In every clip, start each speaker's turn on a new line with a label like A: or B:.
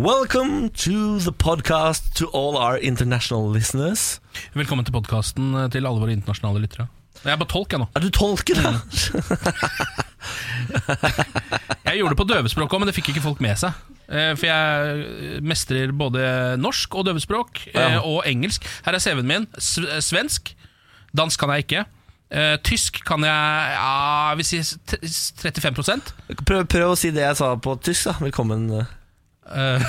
A: Welcome to the podcast to all our international listeners.
B: Velkommen til podkasten til alle våre internasjonale lyttere. Jeg er bare tolk, jeg nå.
A: Er du tolker, da?
B: Jeg gjorde det på døvespråk òg, men det fikk ikke folk med seg. Eh, For jeg eh, mestrer både norsk og døvespråk, eh, og engelsk. Her er CV-en min. S- eh, Svensk. Dansk kan jeg ikke. Eh, Tysk kan jeg ja, vi sier t- 35
A: Prøv, prøv å si det jeg sa på tysk, da. Velkommen.
B: Eh,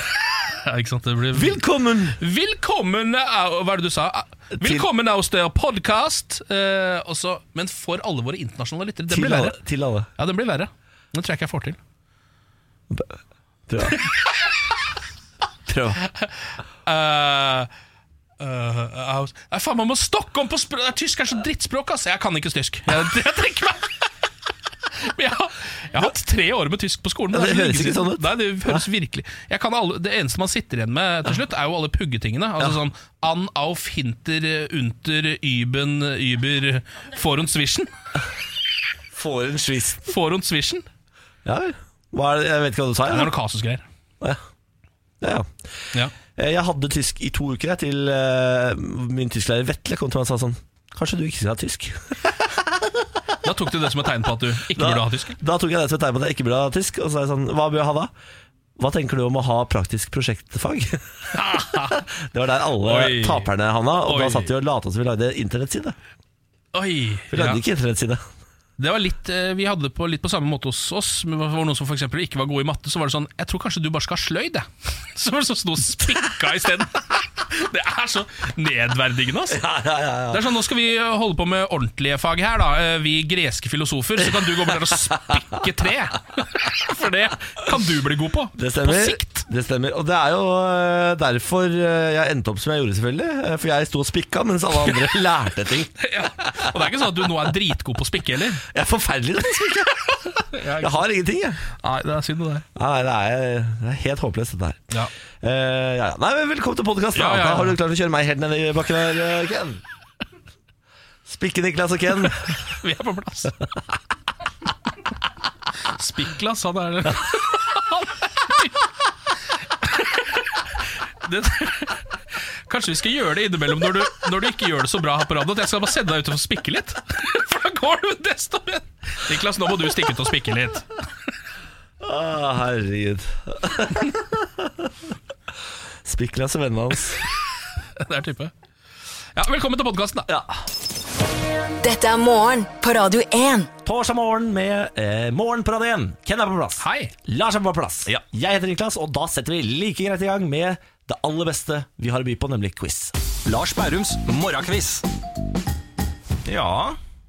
B: ja, Ikke sant? Det blir
A: Velkommen!
B: Velkommen au- Hva er det du sa? Velkommen aus der podcast. Eh, også, men for alle våre internasjonale lyttere. Det blir
A: Til
B: verre.
A: alle. Til alle.
B: Ja, den blir verre. Den tror jeg ikke jeg får til.
A: Prøv. prøv.
B: Eh, eh, aus- Nei, faen, man må stokke om på språk! Tysk er så drittspråk, ass! Jeg kan ikke tysk. Jeg, jeg trekker meg! Men jeg, har- jeg har hatt tre år med tysk på skolen.
A: Ja, det
B: er
A: høres
B: lenge
A: ikke
B: siden.
A: sånn ut.
B: Nei, det høres virkelig jeg kan alle, Det eneste man sitter igjen med til slutt, er jo alle puggetingene. Altså sånn An, auf, hinter, unter, üben, über, for und zwischen.
A: Får en svist.
B: For und zwischen.
A: Ja vel. Hva er det? Jeg vet ikke hva du sa.
B: Det er
A: Ja.
B: noe kasusgreier.
A: Ja. Ja, ja.
B: Ja.
A: Eh, Jeg hadde tysk i to uker jeg, til eh, min tysklærer Vetle kom til meg og sa sånn Kanskje du ikke skal ha tysk?
B: Da tok du det som et tegn på at du ikke
A: Da-
B: burde ha tysk.
A: Da tok jeg det som et tegn på at jeg ikke burde ha tysk. Og så sa jeg sånn, hva bør jeg ha da? Hva tenker du om å ha praktisk prosjektfag? det var der alle
B: Oi.
A: taperne havna. Og
B: Oi.
A: da satt vi og lata som vi lagde internettside.
B: Oi!
A: Vi lagde
B: ja.
A: ikke internettside.
B: Det var litt, eh, Vi hadde det på, litt på samme måte hos oss. Men det var noen som for eksempel ikke var gode i matte, så var det sånn Jeg tror kanskje du bare skal ha sløyd, jeg. Så var det sånn som sto og spikka isteden. Det er så nedverdigende, altså. Det er sånn, Nå skal vi holde på med ordentlige fag her, da. Eh, Vi greske filosofer. Så kan du gå bort der og spikke tre. For det kan du bli god på.
A: Det stemmer.
B: På sikt.
A: Det stemmer. Og det er jo eh, derfor eh, jeg endte opp som jeg gjorde, selvfølgelig. Eh, For jeg sto og spikka mens alle andre lærte ting.
B: Ja. Og det er ikke sånn at du nå er dritgod på å spikke heller.
A: Jeg er forferdelig til å spikke. Jeg har ingenting, jeg.
B: Nei, det er synd, det der.
A: Nei, det er, det er helt håpløst, dette her.
B: Ja.
A: Eh, ja, ja. Nei, men velkommen til podkasten.
B: Ja, ja, ja.
A: Har du klart å kjøre meg helt ned i bakken her, eh, Ken? Spikke Niklas og Ken.
B: Vi er på plass. Spiklas, han er det, Kanskje vi skal gjøre det innimellom når du, når du ikke gjør det så bra her på radioen. At jeg skal bare sende deg ut og spikke litt. For da går du desto bedre. Niklas, nå må du stikke ut og spikke litt.
A: Å, herregud. Spiklas og vennene hans.
B: Det er type. Ja, velkommen til podkasten, da.
A: Ja.
C: Dette er morgen på Radio 1.
A: Torsdag morgen med eh, Morgen på Radio 1. Ken er på plass.
B: Hei.
A: Lars er på plass. Jeg heter Niklas, og da setter vi like greit i gang med det aller beste vi har å by på, nemlig quiz.
D: Lars Bærums morgenquiz. Ja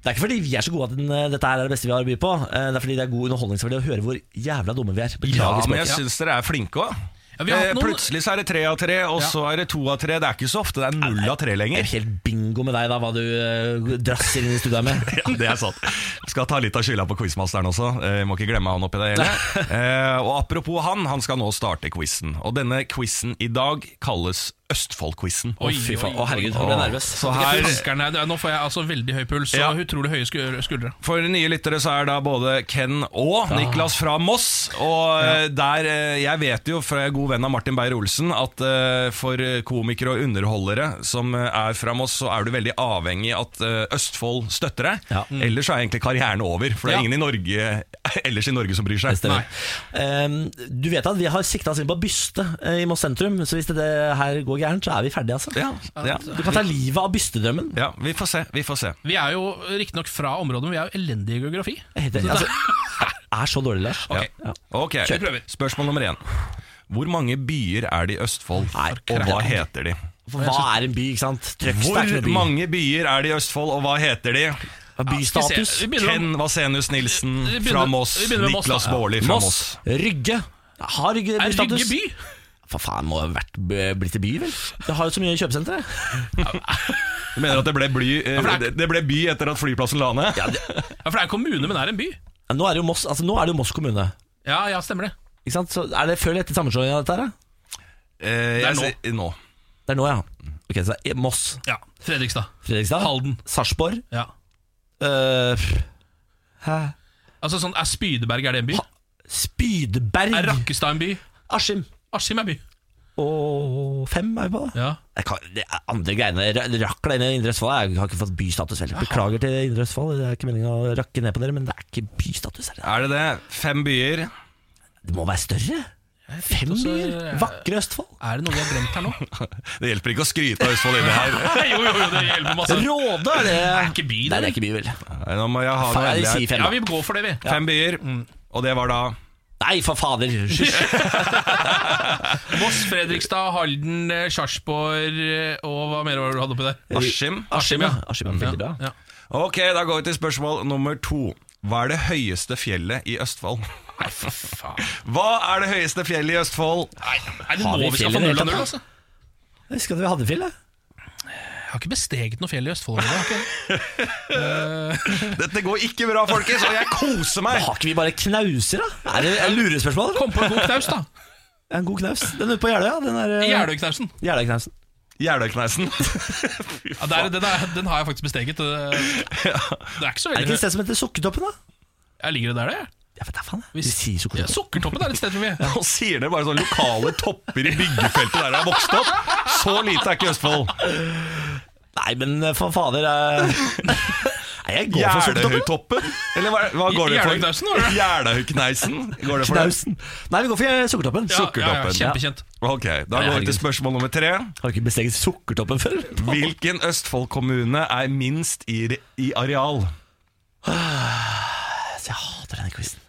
A: Det er ikke fordi vi er så gode at den, eh, dette her er det beste vi har å by på. eh, Det er fordi det er god underholdningsverdi å høre hvor jævla dumme vi er. Beklager
D: men jeg
A: språket.
D: syns dere er flinke òg.
B: Ja, vi har hatt noen-
D: Eh, Plutselig så er det tre av tre, og
B: Ja.
D: så er det to av tre. Det er ikke så ofte det er null av tre
A: Det er
D: lenger.
A: helt bingo med deg da, hva du eh, drasser inn i studioet med.
D: Ja, det er sant. Skal ta litt av skylda på quizmasteren også. Eh, må ikke glemme han oppi det hele. Eh, og apropos han, han skal nå starte quizen. Og denne quizen i dag kalles Østfoldquizen.
B: Oi,
A: Fy faen,
B: oi,
A: å herregud, nå ble jeg nervøs.
D: Så her
B: Fiskerne, det er- Nå får jeg altså veldig høy puls og
D: Ja.
B: utrolig høye sku- skuldre.
D: For nye lyttere så er da både Ken og Niklas fra Moss. Og eh, der, eh, jeg vet jo fra jeg er god venn av Martin Beyer-Olsen at eh, for komikere og underholdere som eh, er fra Moss, så er du veldig avhengig at eh, Østfold støtter deg. Mm.
A: Ja.
D: Ellers er egentlig karrieren over, for det
B: Ja.
D: er ingen i Norge, ellers i Norge som bryr
A: Det
D: seg.
A: stemmer. Ehm, du vet at vi har sikta oss inn på Byste eh, i Moss sentrum, så hvis det her går gærent, så er vi ferdige, altså.
D: Ja, ja.
A: Du kan ta livet av bystedrømmen.
D: ja, vi får se. Vi får se.
B: Vi er jo riktignok fra området, men vi er jo elendige i geografi.
A: Jeg heter- Altså, jeg er så dårlig, Lars.
B: Ok.
A: Ja.
D: Ok,
B: Vi prøver.
D: Spørsmål nummer én. Hvor mange byer er det i Østfold,
A: Nei,
D: og hva
A: kraftig.
D: heter de?
A: For hva er en by, ikke sant? Trøgstad er ikke
D: Hvor
A: noen by.
D: mange byer er det i Østfold, og hva heter de?
A: Bystatus.
B: Vi begynner-
D: Ken Vasenius Nilsen
B: Vi begynner-
D: fra Moss.
B: vi begynner med Moss,
D: Niklas
B: da. Ja.
D: Baarli fra Moss.
A: Moss, Rygge, Har Rygge
B: Er Rygge
A: bystatus?
B: by?
A: For faen, må ha vært blitt til by, vel? Det har jo så mye kjøpesentre.
D: Du mener at det ble, bly, eh,
B: for det
D: det, det ble by etter at flyplassen la ned?
B: Ja, For det er en kommune, men det er en by.
A: Ja, nå er det jo Moss, altså, nå er det jo Moss kommune.
B: Ja, ja, stemmer det.
A: Ikke sant? Så er det før eller etter sammenslåingen av dette her? da?
D: Eh,
B: Det er
D: jeg
B: nå.
D: sier- nå.
A: Det er nå, ja. Ok, så det er Moss,
B: Ja, Fredrikstad.
A: Fredrikstad,
B: Halden.
A: Sarpsborg
B: Ja.
A: eh, pff. Hæ?
B: Altså sånn, Er Spydeberg er det en by? Er
A: Spydeberg,
B: Rakkestad en by?
A: Askim
B: Askim er by.
A: og fem er vi på, da.
B: Ja.
A: Jeg kan, det er andre greiene Ra- Rakla inn i Indre Østfold Jeg har ikke fått bystatus heller. Beklager til Indre Østfold, det er ikke meningen å rakke ned på dere, men det er ikke bystatus her.
D: Er det det? Fem byer.
A: Det må være større. Fem
B: også-
A: byer. Vakre Østfold.
B: eh, Er det noe vi har glemt her nå?
D: Det hjelper ikke å skryte av Østfold inne her.
B: Nei, jo, jo, jo, det hjelper masse.
A: Råde er det
B: er ikke by, Altså, det,
A: Nei, det er ikke by, vel.
D: Nei, Nå må jeg ha noe
A: Faen, jeg
D: endelig
A: sier
D: her.
A: fem,
B: Ja,
A: da.
B: vi går for det, vi.
D: Fem byer,
B: Mm.
D: og det var da
A: Nei, for fader. Hysj.
B: Moss, Fredrikstad, Halden, eh, Sarpsborg eh, og hva mer var det du hadde oppi der?
D: Askim.
A: Askim, ja. Askim er veldig bra.
B: Ja.
D: Ok, da går vi til spørsmål nummer to. Hva er det høyeste fjellet i Østfold?
B: Nei, for faen.
D: Hva er det høyeste fjellet i Østfold?
B: Nei, er det
A: Har vi
B: nå vi skal
A: fjell i det hele
B: få null av
A: tatt, da?
B: null, altså?
A: Jeg husker at vi hadde fjell, da.
B: Jeg har ikke besteget noe fjell i Østfold. i dag, ok?
D: Dette går ikke bra, folkens, og jeg koser meg!
A: Har ikke vi bare knauser, da? Er det er det lurespørsmål? eller?
B: Kom på en god knaus, da.
A: En god knaus. Den ute på Jeløya. Den er eh,
B: Jeløyknausen.
A: Jeløya-knausen.
D: Jeløykneisen.
B: Ja, der, den, er, den har jeg faktisk besteget. eh. Det er ikke så
A: Er det ikke
B: veldig
A: et sted som heter Sukkertoppen, da?
B: Jeg ligger det der, det.
A: Jeg vet da faen. jeg.
B: Hvis-
A: Vi sier
B: Ja,
A: Sukkertoppen.
B: Sukkertoppen er et sted for mye.
D: Nå sier dere bare sånn lokale topper i byggefeltet der jeg har vokst opp. Så lite er ikke Østfold.
A: Nei, men eh, for fader eh. Nei, jeg går for Sukkertoppen.
D: Jeløytoppen? Eller hva, hva går det for?
B: Jeløyknausen, var det?
D: Jeløykneisen? Går det for det?
A: Knausen. Nei, vi går for eh, Sukkertoppen.
B: Ja, ja, ja,
D: Sukkertoppen.
B: kjempekjent.
D: Ok, da går vi til spørsmål nummer tre.
A: Har du ikke besteget Sukkertoppen før?
D: Hvilken Østfold-kommune er minst i, re- i areal?
A: Altså, Jeg hater denne quizen.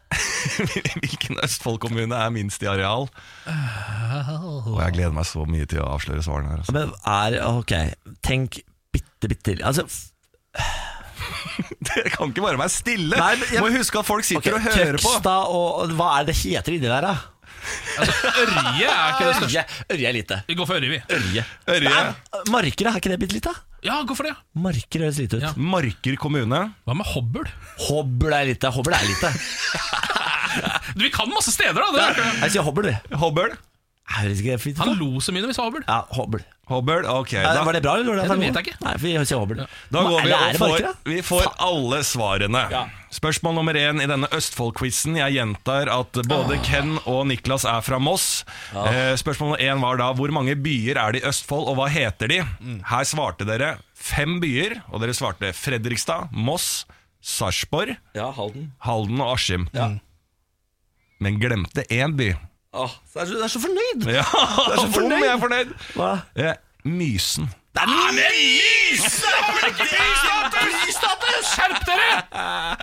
D: Hvilken Østfold-kommune er minst i areal? Og jeg gleder meg så mye til å avsløre svarene her. Altså.
A: Men er Ok, tenk bitte, bitte litt. Altså, f-
D: Dere kan ikke bare være stille!
A: Nei, men jeg-
D: Må huske at folk
A: ok,
D: sitter og hører på!
A: Trøgstad og, og Hva er det det heter inni der, da?
B: Altså, Ørje er ikke det største.
A: Ørje. Ørje er lite.
B: Vi går for Ørje, vi.
A: Ørje.
D: Ørje,
A: Marker, er ikke det bitte litt, da?
B: Ja, gå for det. ja.
A: Marker høres lite ut.
B: Ja.
D: Marker kommune.
B: Hva med Hobøl?
A: Hobble er lite. Hobble er lite.
B: Du, Vi kan masse steder, da! Det er ikke...
A: Jeg sier Hobble, vi.
D: Hobøl.
A: Høres ikke det fint
B: Han
A: ut? da?
B: lo så mye når vi sa Hobøl.
A: Ja, Hobble.
D: Hobøl, ok.
A: Eh,
D: Da,
A: Var det bra, eller? dårlig at
B: Ja, det
A: han lo?
B: vet jeg ikke.
A: Nei, vi sier Hobble.
D: da
A: Men
D: går vi
A: er
D: og
A: det
D: får,
A: Marker, da?
D: vi får alle svarene. Spørsmål nummer én i denne Østfold-quizen. Jeg gjentar at
A: Ah.
D: både Ken og Niklas er fra Moss. Eh, Spørsmål nummer én var da hvor mange byer er det i Østfold, og hva heter de?
A: Mm.
D: Her svarte dere fem byer, og dere svarte Fredrikstad, Moss, Sarpsborg,
A: Ja, Halden.
D: Halden og Askim.
A: Mm.
D: Men glemte én by.
A: Åh, så er så, du er så fornøyd!
D: Ja,
A: så fornøyd.
D: om jeg er fornøyd!
A: Hva?
D: Eh, Mysen.
A: Det er
B: Skjerp dere!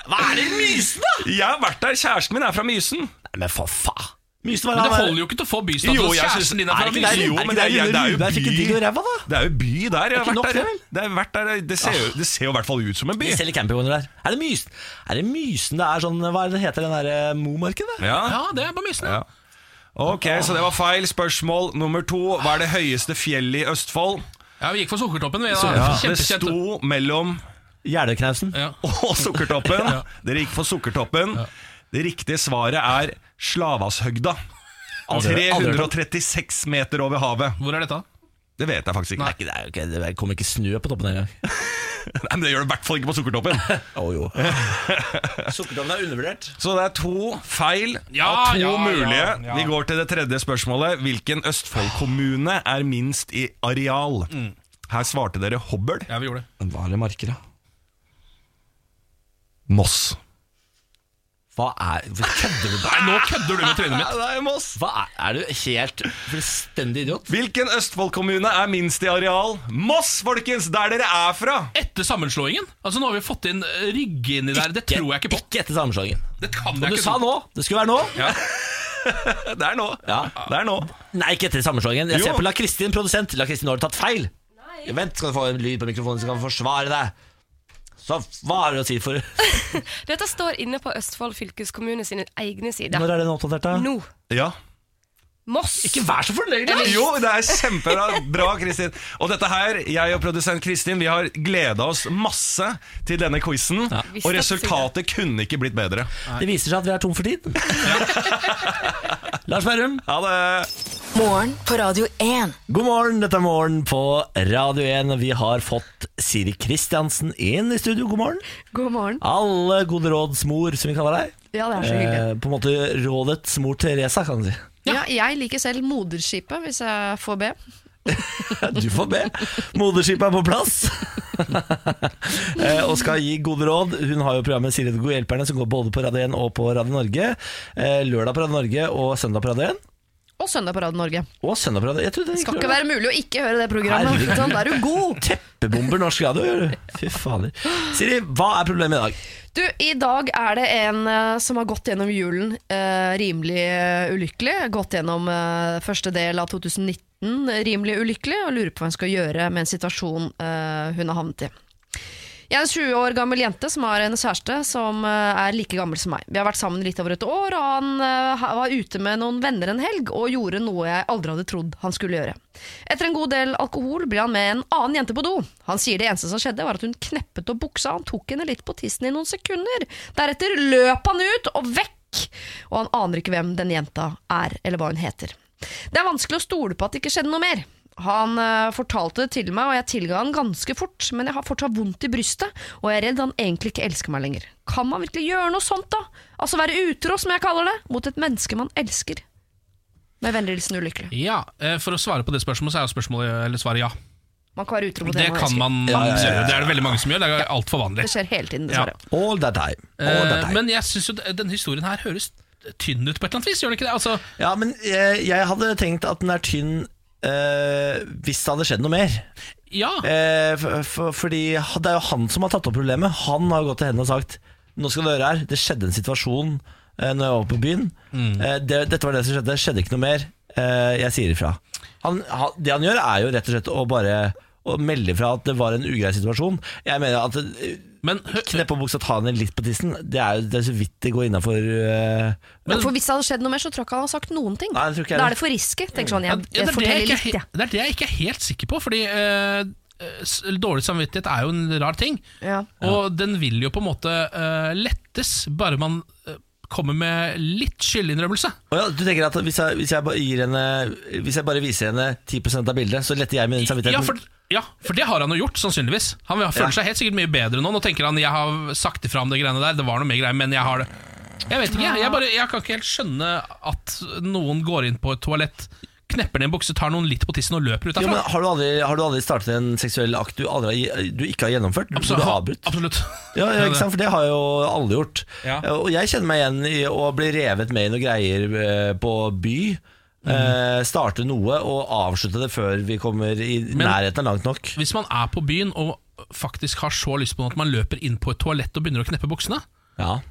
A: Hva er det mysen, da?
D: Jeg har vært der, kjæresten min er fra Mysen.
A: Nei, men for faen! Mysen var
B: Men det holder jo ikke til å få bystatus.
D: Jo, jeg synes-
B: Kjæresten din er
A: Er
B: fra
A: det ikke
B: Mysen.
A: der,
D: Jo,
A: er det,
D: men det er- det er jo
A: Rune Rudberg fikk en
D: by.
A: digg i ræva, da?
D: Det er jo by der. Jeg har
A: ikke nok
D: vært
A: det,
D: der.
A: vel? Ah.
D: Det, har vært der. det ser jo det ser jo i hvert fall ut som en by.
A: De selger campingvogner der. Er det mysen? Er det mysen det er sånn Hva er det det heter den eh, derre Momarken, da?
D: Ja.
B: Ja, det er på Mysen.
D: Ja. Ok, så det var feil. Spørsmål nummer to. Hva er det høyeste fjellet i Østfold?
B: Ja, Vi gikk for Sukkertoppen. Vi, da.
D: Det
B: Kjempekjent.
D: sto mellom
A: Jeløyknausen.
B: Ja.
D: og Sukkertoppen. Dere gikk for Sukkertoppen. Det riktige svaret er Slavashøgda.
A: Aldri- aldri hørt om.
D: 336 meter over havet.
B: Hvor er dette?
D: Det vet jeg faktisk ikke.
A: Nei, ikke- det, er jo ikke- det kommer ikke snø på toppen engang.
D: Nei, men det gjør det i hvert fall ikke på Sukkertoppen.
A: Å jo. Sukkertommen er undervurdert.
D: Så det er to feil
B: Ja,
D: av to
B: ja,
D: mulige.
B: ja, ja.
D: Vi går til det tredje spørsmålet. Hvilken Østfold-kommune er minst i areal? Her svarte dere Hobøl.
B: Ja, vi gjorde det.
A: Men hva er det marker, da?
D: Moss.
A: Hva er Hvor Kødder du?
B: Nei, nå kødder du med trynet mitt.
D: det er Moss.
A: Hva er, er du helt fullstendig idiot?
D: Hvilken Østfold-kommune er minst i areal? Moss, folkens! Der dere er fra!
B: Etter sammenslåingen. Altså Nå har vi fått inn eh, Rygge inni der. Det tror jeg ikke på.
A: Ikke etter sammenslåingen.
B: Det kan
A: Og
B: jeg
A: du
B: ikke
A: sa
B: sånn. tro.
A: nå! Det skulle være nå.
D: Det er nå.
A: Ja.
D: Det er nå.
A: Nei, ikke etter sammenslåingen. Jeg ser
D: Jo.
A: på La Kristin, produsent. La Kristin, nå har du tatt feil. Vent, skal du få en lyd på mikrofonen, så kan vi forsvare deg. Så hva har du å si for
E: Dette står inne på Østfold fylkeskommune sine egne sider.
A: Når er den oppdatert, da?
E: Nå.
D: Ja.
E: Moss.
A: Ikke vær så fornøyd! da.
D: Jo, det er kjempebra, bra, Kristin. Og dette her, jeg og produsent Kristin, vi har gleda oss masse til denne quizen. Og
E: Visste at du skulle
D: resultatet kunne ikke blitt bedre.
A: Det viser seg at vi er tom for tid. Lars Berrum,
D: Ha det!
C: Morgen på Radio 1.
A: god morgen. Dette er Morgen på Radio 1. Vi har fått Siri Kristiansen inn i studio. God morgen.
E: God morgen.
A: Alle gode råds mor, som vi kaller deg.
E: Ja, det er så hyggelig.
A: Eh, på en måte rådets mor Teresa, kan du si.
E: Ja, jeg liker selv Moderskipet, hvis jeg får be.
A: Du får be. Moderskipet er på plass Eh, og skal gi gode råd. Hun har jo programmet Siri de gode hjelperne, som går både på Radio 1 og på Radio Norge. Eh, Lørdag på Radio Norge og søndag på Radio 1.
E: Og Søndag på Rad Norge.
A: Og søndag på Radio 1. Jeg trodde det
E: Det
A: gikk
E: skal
A: lørdag.
E: ikke være mulig å ikke høre det programmet.
A: Herregud.
E: Sånn, da er du god.
A: Teppebomber norsk radio, gjør du. Fy fader. Siri, hva er problemet i dag?
E: Du, I dag er det en eh, som har gått gjennom julen eh, rimelig eh, ulykkelig. Gått gjennom eh, første del av 2019 eh, rimelig ulykkelig, og lurer på hva hun skal gjøre med en situasjon eh, hun har havnet i. Jeg er en 20 år gammel jente som har en kjæreste som eh, er like gammel som meg. Vi har vært sammen litt over et år, og han eh, ha- var ute med noen venner en helg og gjorde noe jeg aldri hadde trodd han skulle gjøre. Etter en god del alkohol blir han med en annen jente på do. Han sier det eneste som skjedde, var at hun kneppet opp buksa, han tok henne litt på tissen i noen sekunder. Deretter løp han ut og vekk, og han aner ikke hvem den jenta er, eller hva hun heter. Det er vanskelig å stole på at det ikke skjedde noe mer. Han eh, fortalte det til meg, og jeg tilga han ganske fort, men jeg har fortsatt vondt i brystet, og jeg er redd han egentlig ikke elsker meg lenger. Kan man virkelig gjøre noe sånt, da? Altså være utro, som jeg kaller det, mot et menneske man elsker? Med vennlig hilsen ulykkelig.
B: Ja, eh, For å svare på det spørsmålet, så er jo spørsmålet eller svaret ja.
E: Man kan være utro mot
B: Det
E: en man
B: kan
E: elsker.
B: man gjøre. Det er det veldig mange som gjør. Det er altfor vanlig.
E: Det skjer hele tiden, dessverre.
A: All that time. All that
B: Eh,
A: time.
B: Men jeg syns jo d- denne historien her høres tynn ut på et eller annet vis, gjør det ikke det? Altså,
A: ja, men jeg, jeg hadde tenkt at den er tynn eh, hvis det hadde skjedd noe mer.
B: ja.
A: Eh, for, for, fordi det er jo han som har tatt opp problemet. Han har jo gått til henne og sagt Nå skal du høre her, det skjedde en situasjon eh, Når jeg var på byen.
B: Mm.
A: Eh, det, dette var det som skjedde, skjedde ikke noe mer. Eh, jeg sier ifra. Han, han, det han gjør, er jo rett og slett å bare å melde fra at det var en ugrei situasjon. Jeg mener at eh,
B: Men hø-
A: Kneppe opp buksa, ta henne litt på tissen. Det er jo det er så vidt det går eh, innafor
E: Men, for hvis det hadde skjedd noe mer, så tror jeg ikke han har sagt noen ting.
A: Nei, det tror ikke jeg
E: da
A: det.
E: er det for risky. Tenk sånn,
B: Ja, det,
E: jeg, jeg
B: er det, jeg
E: forteller
B: ikke,
E: litt,
B: er
E: jeg.
B: he- det er det jeg ikke er helt sikker på, fordi eh, s- dårlig samvittighet er jo en rar ting.
E: Ja.
B: Og den vil jo på en måte eh, lettes, bare man eh, kommer med litt skyldinnrømmelse.
A: Å ja, Du tenker at hvis jeg, hvis, jeg bare gir henne, hvis jeg bare viser henne 10 av bildet, så letter jeg min samvittighet?
B: Ja for, ja, for det har han jo gjort, sannsynligvis. Han vil- føler seg helt sikkert mye bedre nå. Nå tenker han 'jeg har sagt ifra om det greiene der', det var noe mer greier, men jeg har det. Jeg vet ikke, jeg, bare, jeg kan ikke helt skjønne at noen går inn på et toalett, knepper ned en bukse, tar noen litt på tissen og løper ut
A: Jo, men
B: derfra.
A: har, du aldri, har du aldri startet en seksuell akt du, aldri, har- du ikke har gjennomført? Du, du har avbrutt?
B: Absolutt.
A: Ja, ja, ikke sant? For det har jo alle gjort. Eh,
B: Ja.
A: Og jeg kjenner meg igjen i å bli revet med i noen greier eh, på by.
B: Mm.
A: Eh, starte noe og avslutte det før vi kommer i nærheten av langt nok.
B: Hvis man er på byen og faktisk har så lyst på noe at man løper inn på et toalett og begynner å kneppe buksene
A: Ja.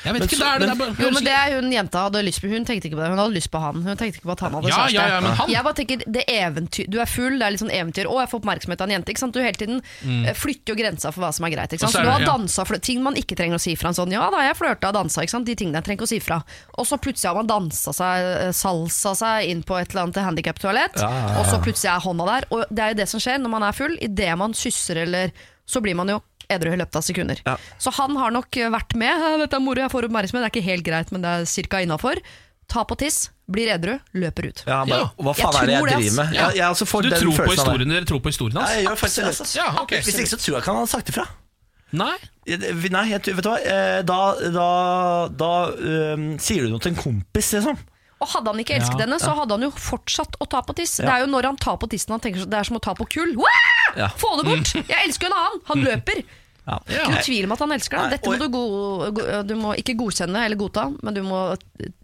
B: Jeg vet
A: Men
B: ikke,
A: så-
B: det er det,
A: men-
B: det er bare,
E: Jo, men det er hun jenta hadde lyst på. Hun tenkte ikke på det. Hun hadde lyst på han. Hun tenkte ikke på at han hadde
B: Ja,
E: kjæreste.
B: ja, ja, men han-
E: Jeg bare tenker, det eventyr, Du er full, det er litt sånn eventyr. Å, jeg får oppmerksomhet av en jente. Ikke sant? Du hele tiden eh, flytter jo grensa for hva som er greit. Ikke
B: Mm. Og
E: sant?
B: så er
E: Så du har
B: det- ja.
E: dansa flø- ting man ikke trenger å si fra. En sånn, ja da, jeg flørta og dansa. Ikke sant? De tingene jeg trenger ikke å si fra. Og så plutselig har man dansa seg, eh, salsa seg inn på et eller annet handikaptoalett, og så plutselig er hånda der. Og det er jo det som skjer når man er full. Idet man kysser eller Så blir man jo edru i løpet av sekunder. Så han har nok vært med. «Hæ, Dette er moro, jeg får oppmerksomhet. Det er ikke helt greit, men det er cirka innafor. Ta på tiss, blir edru, løper ut.
A: ja han bare,
B: Ja.
A: Hva faen er det jeg
E: tror det, ass.
A: driver med?
B: Ja.
A: Jeg, jeg også får
B: Du
A: den
B: tror på
A: følelsen av det.
B: historien dere tror på historien
A: Nei,
B: hans?
A: jeg gjør faktisk det. ass.
B: Ja, ok.
A: Hvis ikke så tror jeg ikke han hadde sagt ifra.
B: Nei?
A: Jeg- Nei, jeg, tror- vet du hva? Eh, Da, da, da øhm, sier du noe til en kompis, liksom.
E: Og hadde han ikke elsket
B: Ja.
E: henne, så hadde han jo fortsatt å ta på tiss. Det
A: Ja.
E: er jo når han tar på tissen han tenker så- det er som å ta på kull. Wah!
A: Ja. Mm.
E: Få det bort! Jeg elsker jo en annen! Han løper.
A: Ja.
E: Ikke noe tvil om at han elsker deg.
A: Nei,
E: Dette må
A: og-
E: du, go go du må ikke godkjenne eller godta, men du må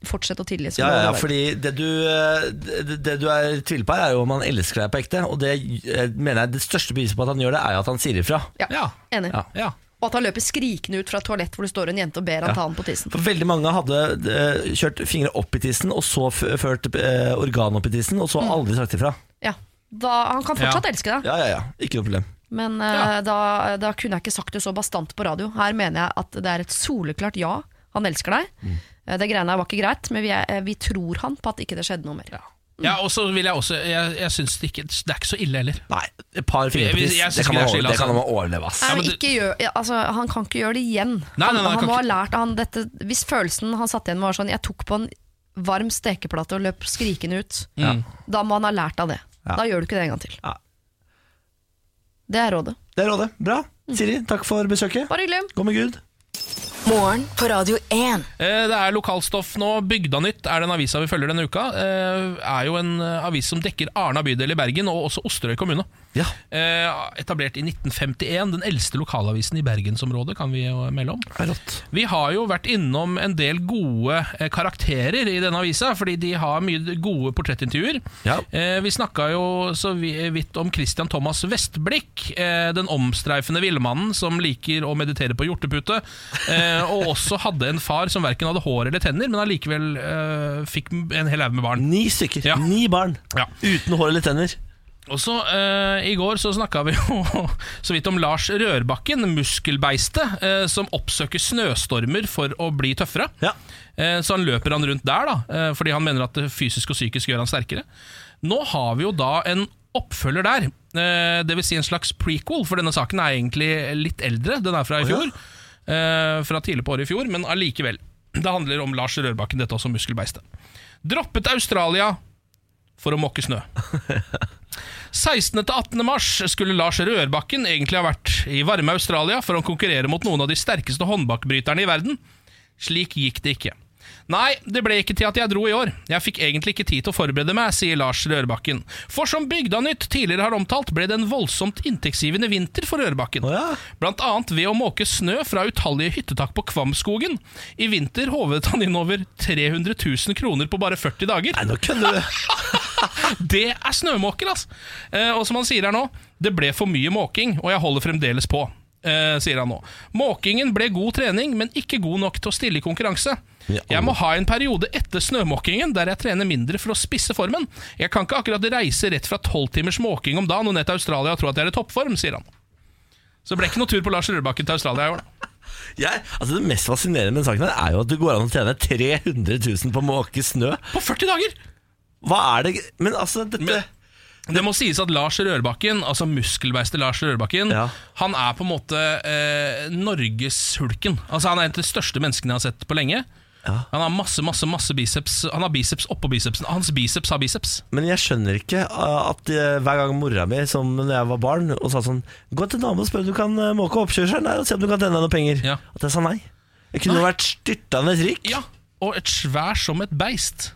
E: fortsette å tilgi. som
A: Ja, ja, ja,
E: det var.
A: fordi det du, eh, det, det du er i tvil på her, er jo om han elsker deg på ekte. Og det eh, mener jeg det største beviset på at han gjør det, er jo at han sier ifra.
E: ja.
B: Ja.
E: Enig.
A: Ja.
B: Ja.
E: Og at han løper skrikende ut fra et toalett hvor det står en jente og ber han ta han på tissen.
A: For veldig mange hadde eh, kjørt fingre opp i tissen, og så f ført eh, organ opp i tissen, og så
B: Mm.
A: aldri sagt ifra.
E: Ja. Da, han kan fortsatt elske deg,
A: Ja, ja, ja. Ikke noe problem.
E: men eh, da, da kunne jeg ikke sagt det så bastant på radio. Her mener jeg at det er et soleklart
B: Mm.
E: ja. Han elsker deg. Eh, Det greiene her var ikke greit, men vi, er, eh, vi tror han på at ikke det skjedde noe mer.
B: Ja, og så vil jeg også Jeg, jeg syns det, ikke- det er ikke så ille heller.
A: Nei, et par
B: Jeg-
A: fingerpris,
B: jeg synes
A: det, kan
B: ikke
A: man overleve-
B: det er så ille,
A: det kan
B: altså.
A: man overleve, ass.
E: Nei,
B: Ja,
E: men
B: men
E: ikke gjør, ja, altså, han kan ikke gjøre det igjen.
B: Nei, nei, nei,
E: han
B: han
E: han
B: kan
E: må ha
B: ikke-
E: lært han, dette, Hvis følelsen han satt igjen med var sånn Jeg tok på en varm stekeplate og løp skrikende ut,
B: Mm.
E: da må han ha lært av det. Da gjør du ikke det en gang til.
A: Ja.
E: Det er rådet.
A: Det er rådet. Bra.
B: Mm.
A: Siri, takk for besøket.
E: Bare hyggelig.
A: Gå med Gud.
C: Morgen på Radio 1.
B: Eh, Det er lokalstoff nå. Bygdanytt er den avisa vi følger denne uka. Eh, Er jo en eh, avis som dekker Arna bydel i Bergen, og også Osterøy kommune.
A: Ja.
B: Eh, Etablert i 1951. Den eldste lokalavisen i bergensområdet, kan vi jo melde om.
A: Rått.
B: Vi har jo vært innom en del gode eh, karakterer i denne avisa, fordi de har mye gode portrettintervjuer.
A: Ja.
B: Eh, Vi snakka jo så vi- eh, vidt om Christian Thomas Vestblikk, eh, den omstreifende villmannen som liker å meditere på hjortepute, eh, og også hadde en far som verken hadde hår eller tenner, men allikevel eh, fikk en hel haug med barn.
A: Ni stykker.
B: Ja.
A: Ni barn.
B: Ja.
A: Uten hår eller tenner.
B: Og så eh, I går så snakka vi jo så vidt om Lars Rørbakken, muskelbeistet, eh, som oppsøker snøstormer for å bli tøffere.
A: Ja.
B: Eh, så han løper han rundt der, da, eh, fordi han mener at det fysisk og psykisk gjør han sterkere. Nå har vi jo da en oppfølger der, eh, dvs. Si en slags prequel, for denne saken er egentlig litt eldre. Den er fra i fjor, eh, fra tidlig på året i fjor, men allikevel. Det handler om Lars Rørbakken, dette også muskelbeistet. Droppet Australia for å måke snø. 16. til 18. mars skulle Lars Rørbakken egentlig ha vært i varme Australia for å konkurrere mot noen av de sterkeste håndbakbryterne i verden. Slik gikk det ikke. Nei, det ble ikke til at jeg dro i år. Jeg fikk egentlig ikke tid til å forberede meg, sier Lars Rørbakken. For som Bygdanytt tidligere har omtalt, ble det en voldsomt inntektsgivende vinter for Rørbakken.
A: Å ja.
B: Blant annet ved å måke snø fra utallige hyttetak på Kvamskogen. I vinter håvet han inn over 300 000 kroner på bare 40 dager.
A: Nei, nå kødder du.
B: Det er snømåker, altså! Eh, og som han sier her nå, det ble for mye måking, og jeg holder fremdeles på. Eh, sier han nå. Måkingen ble god trening, men ikke god nok til å stille i konkurranse.
A: Ja.
B: Jeg må ha en periode etter snømåkingen der jeg trener mindre for å spisse formen. Jeg kan ikke akkurat reise rett fra tolv timers måking om dagen og ned til Australia og tro at jeg er i toppform, sier han. Så det ble ikke noe tur på Lars Rørbakken til Australia i år. da.
A: Jeg, altså det mest fascinerende med den saken her er jo at det går an å tjene 300 000 på å måke snø.
B: På 40 dager!
A: Hva er det Men altså, dette
B: Men- Det må sies at Lars Rørbakken, altså muskelbeistet Lars Rørbakken,
A: Ja.
B: han er på en måte eh, norgeshulken. Altså, han er en av de største menneskene jeg har sett på lenge. Han har masse, masse, masse biceps. Han har biceps oppå bicepsen. Hans biceps har biceps.
A: Men jeg skjønner ikke uh, at eh, hver gang mora mi, som når jeg var barn, og sa sånn Gå til naboen og spør om du kan eh, måke oppkjørselen der, og se om du kan tjene deg noen penger.
B: Ja.
A: At jeg sa nei. Jeg kunne jo vært styrtende rik.
B: Ja, og et svær som et beist.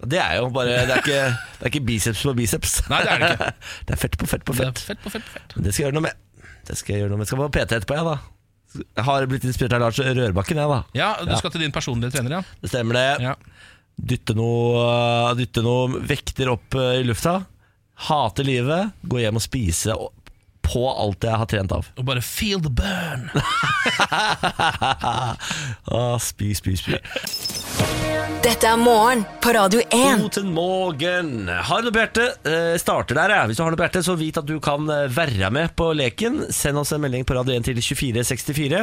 A: Det er jo bare Det er ikke, det er ikke biceps på biceps.
B: Nei, det er det ikke.
A: det er fett på fett på
B: Det er
A: fett.
B: fett på fett på fett.
A: Men Det skal jeg gjøre noe med. Det skal jeg gjøre noe med Jeg skal på PT etterpå, jeg, da. Jeg har blitt inspirert av Lars Rørbakken, jeg, da.
B: Ja, du skal til din personlige trener, ja.
A: Det stemmer det.
B: ja.
A: Dytte noe, dytte noe vekter opp eh, i lufta. Hate livet. Gå hjem og spise og- på alt jeg har trent av.
B: Og bare feel the burn.
A: Ah, spy, spy, spy.
C: Dette er morgen på Radio 1.
A: Guten morgen. Har du noe på hjertet? Eh, starter der, jeg. Hvis du har noe på hjertet, så vit at du kan eh, være med på leken. Send oss en melding på Radio 1 til 2464.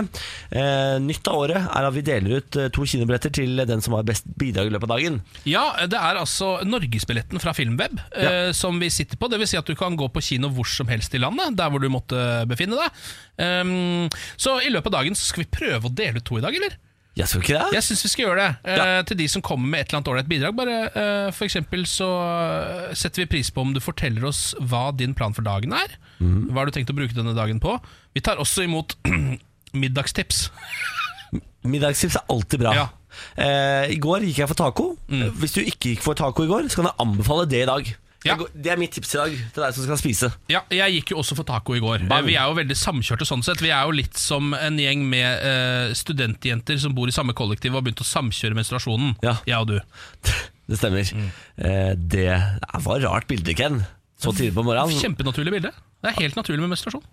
A: Eh, nytt av året er at vi deler ut eh, to kinobilletter til den som har best bidrag i løpet av dagen.
B: Ja, det er altså norgesbilletten fra Filmweb eh, som vi sitter på. Det vil si at du kan gå på kino hvor som helst i landet, der hvor du måtte befinne deg. Ehm, så i løpet av dagen så skal vi prøve å dele ut to i dag, eller?
A: Jeg skal ikke det?
B: Jeg syns vi skal gjøre det. eh, Til de som kommer med et eller annet ålreit bidrag. Bare, eh, for eksempel så eh, setter vi pris på om du forteller oss hva din plan for dagen er. Hva har du tenkt å bruke denne dagen på? Vi tar også imot middagstips.
A: Middagstips er alltid bra.
B: Ja. Mm.
A: Eh, I går gikk jeg for taco. Hvis du ikke gikk for taco i går, så kan jeg anbefale det i dag.
B: Ja.
A: Jeg går- Det er mitt tips i dag til deg som skal spise.
B: Ja, jeg gikk jo også for taco i går.
A: Bang.
B: Vi er jo veldig samkjørte sånn sett. Vi er jo litt som en gjeng med eh, studentjenter som bor i samme kollektiv og har begynt å samkjøre menstruasjonen.
A: Ja.
B: Jeg og du.
A: Det stemmer.
B: Mm.
A: Eh, det var rart bilde, Ken. Så tidlig på morgenen.
B: Kjempenaturlig bilde. Det er helt naturlig med menstruasjon.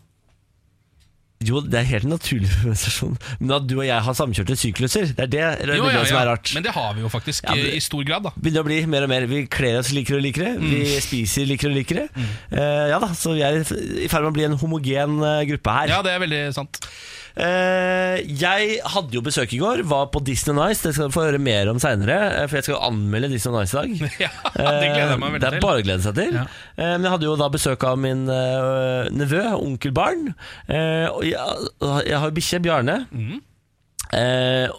A: Jo, det er helt naturlig for menstruasjon. Men at du og jeg har samkjørte sykluser, det er det, det, er
B: Jo,
A: det
B: ja,
A: som er
B: ja.
A: rart.
B: Men det har vi jo faktisk
A: Ja, men-
B: eh, i stor grad, da.
A: Begynner å bli mer og mer. Vi kler oss likere og likere.
B: Mm.
A: Vi spiser likere og likere. Eh, ja da, Så vi er i f- i ferd med å bli en homogen eh, gruppe her.
B: Ja, det er veldig sant.
A: Eh, jeg hadde jo besøk i går, var på Disney Nice. Det skal du få høre mer om seinere, for jeg skal jo anmelde Disney Nice i dag.
B: Ja, det gleder jeg
A: Eh,
B: meg veldig
A: Det er
B: til.
A: bare å glede seg til.
B: Ja.
A: Eh, Men jeg hadde jo da besøk av min eh, nevø, onkel Barn. Eh, og jeg, jeg har jo bikkje, Bjarne.
B: Mm.
A: Eh,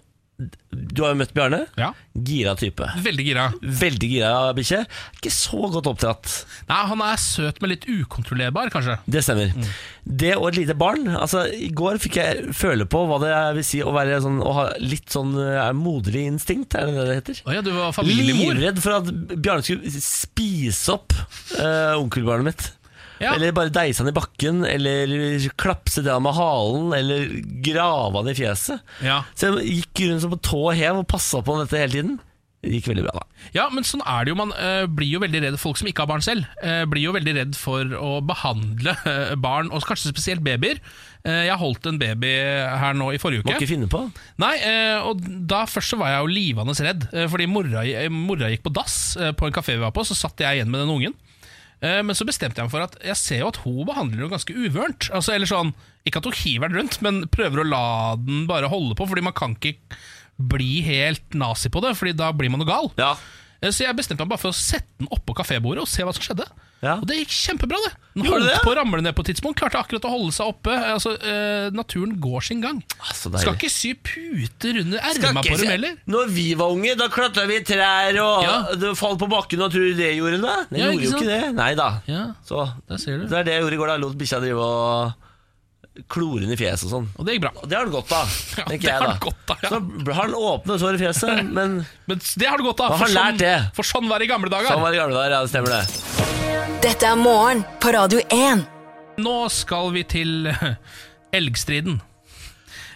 A: du har jo møtt Bjarne.
B: Ja.
A: Gira type.
B: Veldig gira.
A: Veldig gira bikkje. Ikke så godt oppdratt.
B: Nei, Han er søt, men litt ukontrollerbar, kanskje.
A: Det stemmer.
B: Mm.
A: Det og et lite barn. Altså, I går fikk jeg føle på hva det vil si å, være sånn, å ha litt sånn eh, moderlig instinkt, er det det det heter?
B: Å ja, du var familiemor.
A: Livredd for at Bjarne skulle spise opp eh, onkelbarnet mitt.
B: Ja.
A: Eller bare deise han i bakken, eller klapse til han med halen, eller grave han i fjeset.
B: Ja.
A: Så jeg gikk rundt som på tå og hev og passa på dette hele tiden. Det gikk veldig bra, da.
B: ja, men sånn er det jo. Man eh, blir jo veldig redd Folk som ikke har barn selv, eh, blir jo veldig redd for å behandle eh, barn, og kanskje spesielt babyer. Eh, jeg holdt en baby her nå i forrige
A: Må
B: uke.
A: ikke finne på.
B: Nei, eh, og da først så var jeg jo livende redd, eh, fordi mora, eh, mora gikk på dass eh, på en kafé vi var på, så satt jeg igjen med den ungen. Eh, Men så bestemte jeg meg for at jeg ser jo at hun behandler det ganske uvørent. Altså, eller sånn, ikke at hun hiver den rundt, men prøver å la den bare holde på, fordi man kan ikke bli helt nazi på det, fordi da blir man jo gal.
A: Ja.
B: Eh, Så jeg bestemte meg bare for å sette den oppå kafébordet og se hva som skjedde.
A: Ja.
B: Og det gikk kjempebra, det. Den
A: Gjorde
B: holdt
A: det?
B: på å ramle ned på et tidspunkt, klarte akkurat å holde seg oppe. Eh, Altså, eh, naturen går sin gang.
A: Ah, så deilig.
B: Skal ikke sy puter under erma på dem heller.
A: Når vi var unge, da klatra vi i trær og
B: Ja.
A: det falt på bakken. Og tror du det gjorde noe? Det
B: Ja, ikke
A: gjorde jo
B: sant?
A: ikke det. Nei da.
B: Ja,
A: Så
B: der ser du.
A: det er det jeg gjorde i går. da Jeg Lot bikkja drive og klore henne i fjeset og sånn.
B: Og det gikk bra.
A: Og det har den godt av,
B: Ja,
A: tenker
B: det
A: jeg
B: har
A: da.
B: den godt av, ja.
A: Så bl- har den åpne sår i fjeset, men
B: Men det har du godt av.
A: Man har lært det.
B: for sånn var det i gamle dager.
A: sånn var det i gamle dager, ja, det stemmer det.
C: Dette er morgen på Radio 1.
B: Nå skal vi til eh, elgstriden.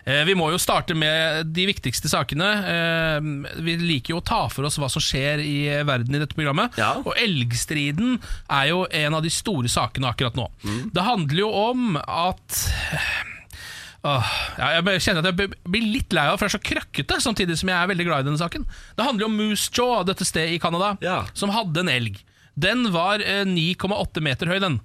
B: Eh, Vi må jo starte med de viktigste sakene. Eh, Vi liker jo å ta for oss hva som skjer i eh, verden i dette programmet.
A: Ja.
B: Og elgstriden er jo en av de store sakene akkurat nå. Det handler jo om at Åh, ja, jeg bare kjenner at jeg blir litt lei av for jeg er så krøkkete, samtidig som jeg er veldig glad i denne saken. Det handler jo om Moose Jaw, dette stedet i Canada,
A: Ja.
B: som hadde en elg. Den var eh, 9,8 meter høy, den.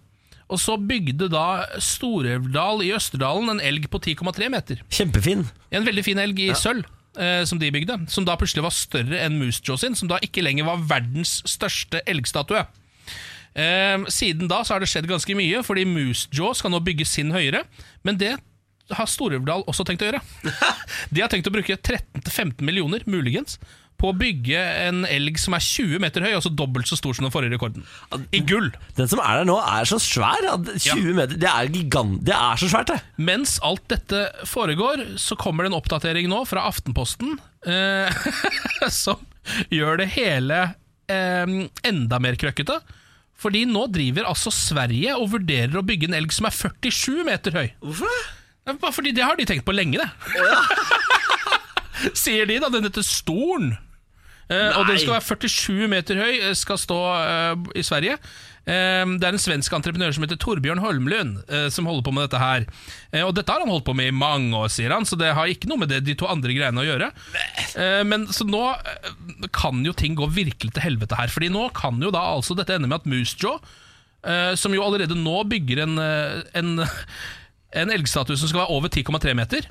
B: Og så bygde da Storelvdal i Østerdalen en elg på 10,3 meter.
A: Kjempefin.
B: En veldig fin elg i sølv. eh, Som de bygde, som da plutselig var større enn Moose Jaw sin, som da ikke lenger var verdens største elgstatue. Eh, Siden da så har det skjedd ganske mye, fordi Moose Jaw skal nå bygge sin høyere. Men det har Storulvdal også tenkt å gjøre. De har tenkt å bruke 13-15 millioner, muligens, på å bygge en elg som er 20 meter høy, altså dobbelt så stor som den forrige rekorden. I gull.
A: Den som er der nå, er så svær. at 20 meter, Det er gigant. Det er så svært, det.
B: Mens alt dette foregår, så kommer det en oppdatering nå fra Aftenposten eh, som gjør det hele eh, enda mer krøkkete. Fordi nå driver altså Sverige og vurderer å bygge en elg som er 47 meter høy.
A: Hvorfor det?
B: Det er Bare fordi det har de tenkt på lenge, det. Sier de, da. Den heter Storn. Eh, og den skal være 47 meter høy, eh, skal stå eh, i Sverige. Eh, det er en svensk entreprenør som heter Torbjørn Holmlund, eh, som holder på med dette her. Eh, og dette har han holdt på med i mange år, sier han, så det har ikke noe med det, de to andre greiene å gjøre. Eh, men så nå eh, kan jo ting gå virkelig til helvete her, Fordi nå kan jo da altså dette ende med at Moose Jaw Eh, som jo allerede nå bygger en, eh, en, en elgstatue som skal være over 10,3 meter.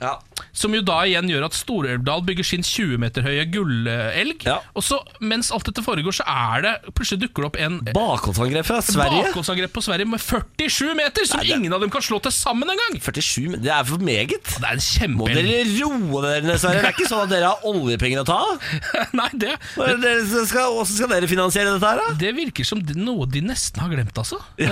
B: Som jo da igjen gjør at Storelvdal bygger sin 20 meter høye gullelg.
A: Ja.
B: Og så, mens alt dette foregår, så er det plutselig dukker det opp en
A: Bakholdsangrep fra Sverige.
B: bakholdsangrep på Sverige med 47 meter, som
A: Nei, det-
B: ingen av dem kan slå til sammen engang!
A: 47 men Det er for meget.
B: Det er en
A: Må
B: kjempeelg.
A: dere roe dere ned, Sverre. Det er ikke sånn at dere har oljepenger å ta av.
B: Nei, det,
A: Hva er det dere som skal- Hvordan skal dere finansiere dette her, da?
B: det virker som det- noe de nesten har glemt, altså. Eh,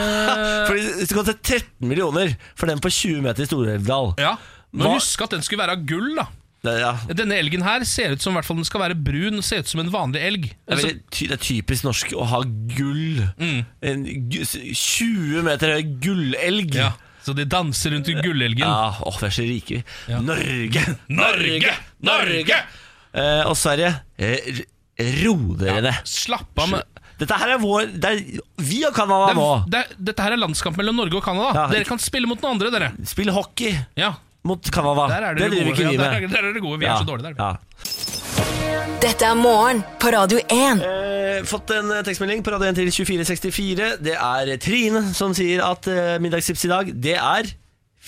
A: Fordi Hvis det koster 13 millioner for den på 20 meter i Storelvdal
B: ja. Men
A: Hva-
B: husk at den skulle være av gull, da.
A: det, ja.
B: Denne elgen her ser ut som i hvert fall den skal være brun, ser ut som en vanlig elg. Altså,
A: det, er veldig ty det er typisk norsk å ha gull.
B: Mm.
A: En gu- 20 meter høy gullelg.
B: Ja, så de danser rundt i gullelgen.
A: Ja, åh, vi er så rike, vi. Norge!
B: Norge! Norge!
A: Eh, og Sverige, eh, r- ro dere ned.
B: Slapp av med
A: Dette her er vår det er, Vi og Canada
B: det
A: nå.
B: er, det er, Dette her er landskamp mellom Norge og Canada.
A: Ja,
B: dere
A: ikke-
B: kan spille mot noen andre, dere.
A: Spill hockey.
B: Ja,
A: mot Kavava.
B: Der er
A: det
B: det det
A: driver
B: gode.
A: ikke vi med.
B: Ja, der, er, der er det gode. Vi er
A: Ja,
B: så dårlige der.
A: ja.
C: Dette er morgen på Radio 1.
A: Eh, fått en eh, tekstmelding på radio 1 til 2464. Det er eh, Trine som sier at eh, middagstips i dag, det er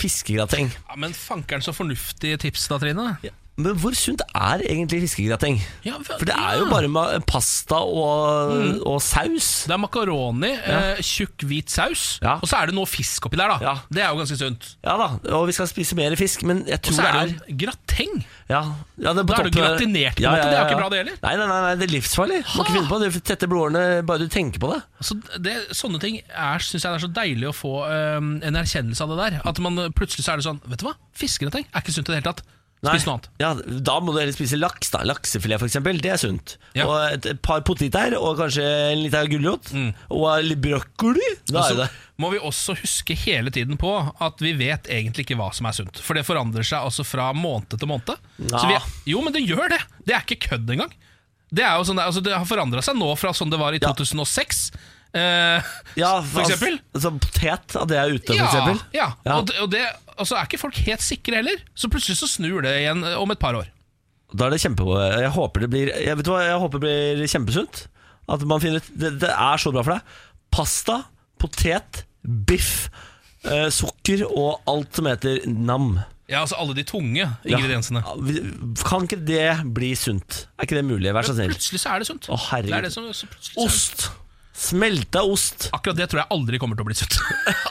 A: fiskegrateng.
B: Ja, men fankeren så fornuftige tips da, Trine.
A: Ja. Men hvor sunt er egentlig fiskegrateng?
B: Ja, vel,
A: For det er jo
B: ja. Mm.
A: bare ma- pasta og, og saus.
B: Det er makaroni, eh, tjukk hvit saus,
A: Ja.
B: og så er det noe fisk oppi der. da
A: Ja.
B: Det er jo ganske sunt.
A: Ja da, og vi skal spise mer fisk, men jeg
B: Og
A: tror
B: så
A: det
B: er
A: er
B: det jo en grateng.
A: ja, ja, det på
B: Da er det
A: toppen-
B: gratinert, på en måte. Det er jo ikke bra, det heller.
A: Nei, nei, nei, nei, det er livsfarlig. Må ikke finne på det. Du tetter blodårene bare du tenker på det.
B: Så det, sånne ting er, synes jeg det er så deilig å få øhm, en erkjennelse av det der. At man plutselig så er det sånn Vet du hva? Fiskegrateng er ikke sunt i det hele tatt.
A: Nei.
B: Spis noe annet.
A: Ja, da må du heller spise laks. da Laksefilet, for eksempel. Det er sunt.
B: Ja.
A: Og et et par poteter og kanskje en liten gulrot. Og litt brokkoli. Da er
B: Mm. Så
A: det
B: må vi også huske hele tiden på at vi vet egentlig ikke hva som er sunt. For det forandrer seg altså fra måned til måned. Så vi,
A: Ja.
B: jo, men det gjør det! Det er ikke kødd engang. Det, er jo sånn, det- altså, det har forandra seg nå fra sånn det var i 2006. eh,
A: ja,
B: for eksempel?
A: Altså, potet, at det er ute, for
B: ja,
A: eksempel.
B: ja.
A: Ja.
B: Og, det, og, det, og så er ikke folk helt sikre heller. Så plutselig så snur det igjen eh, om et par år.
A: Da er det kjempe Jeg håper det blir Jeg vet du hva, jeg håper det blir kjempesunt At man finner ut det, det er så bra for deg Pasta, potet, biff eh, Sukker og alt som heter nam
B: Ja, altså alle de tunge ingrediensene.
A: Ja, vi- Kan ikke det bli sunt? Er ikke det mulig? Vær så snill
B: Plutselig så er det sunt.
A: Å, herregud.
B: det er det som, så plutselig så er det sunt.
A: Ost Smelta ost
B: Akkurat det tror jeg aldri kommer til å bli sunt.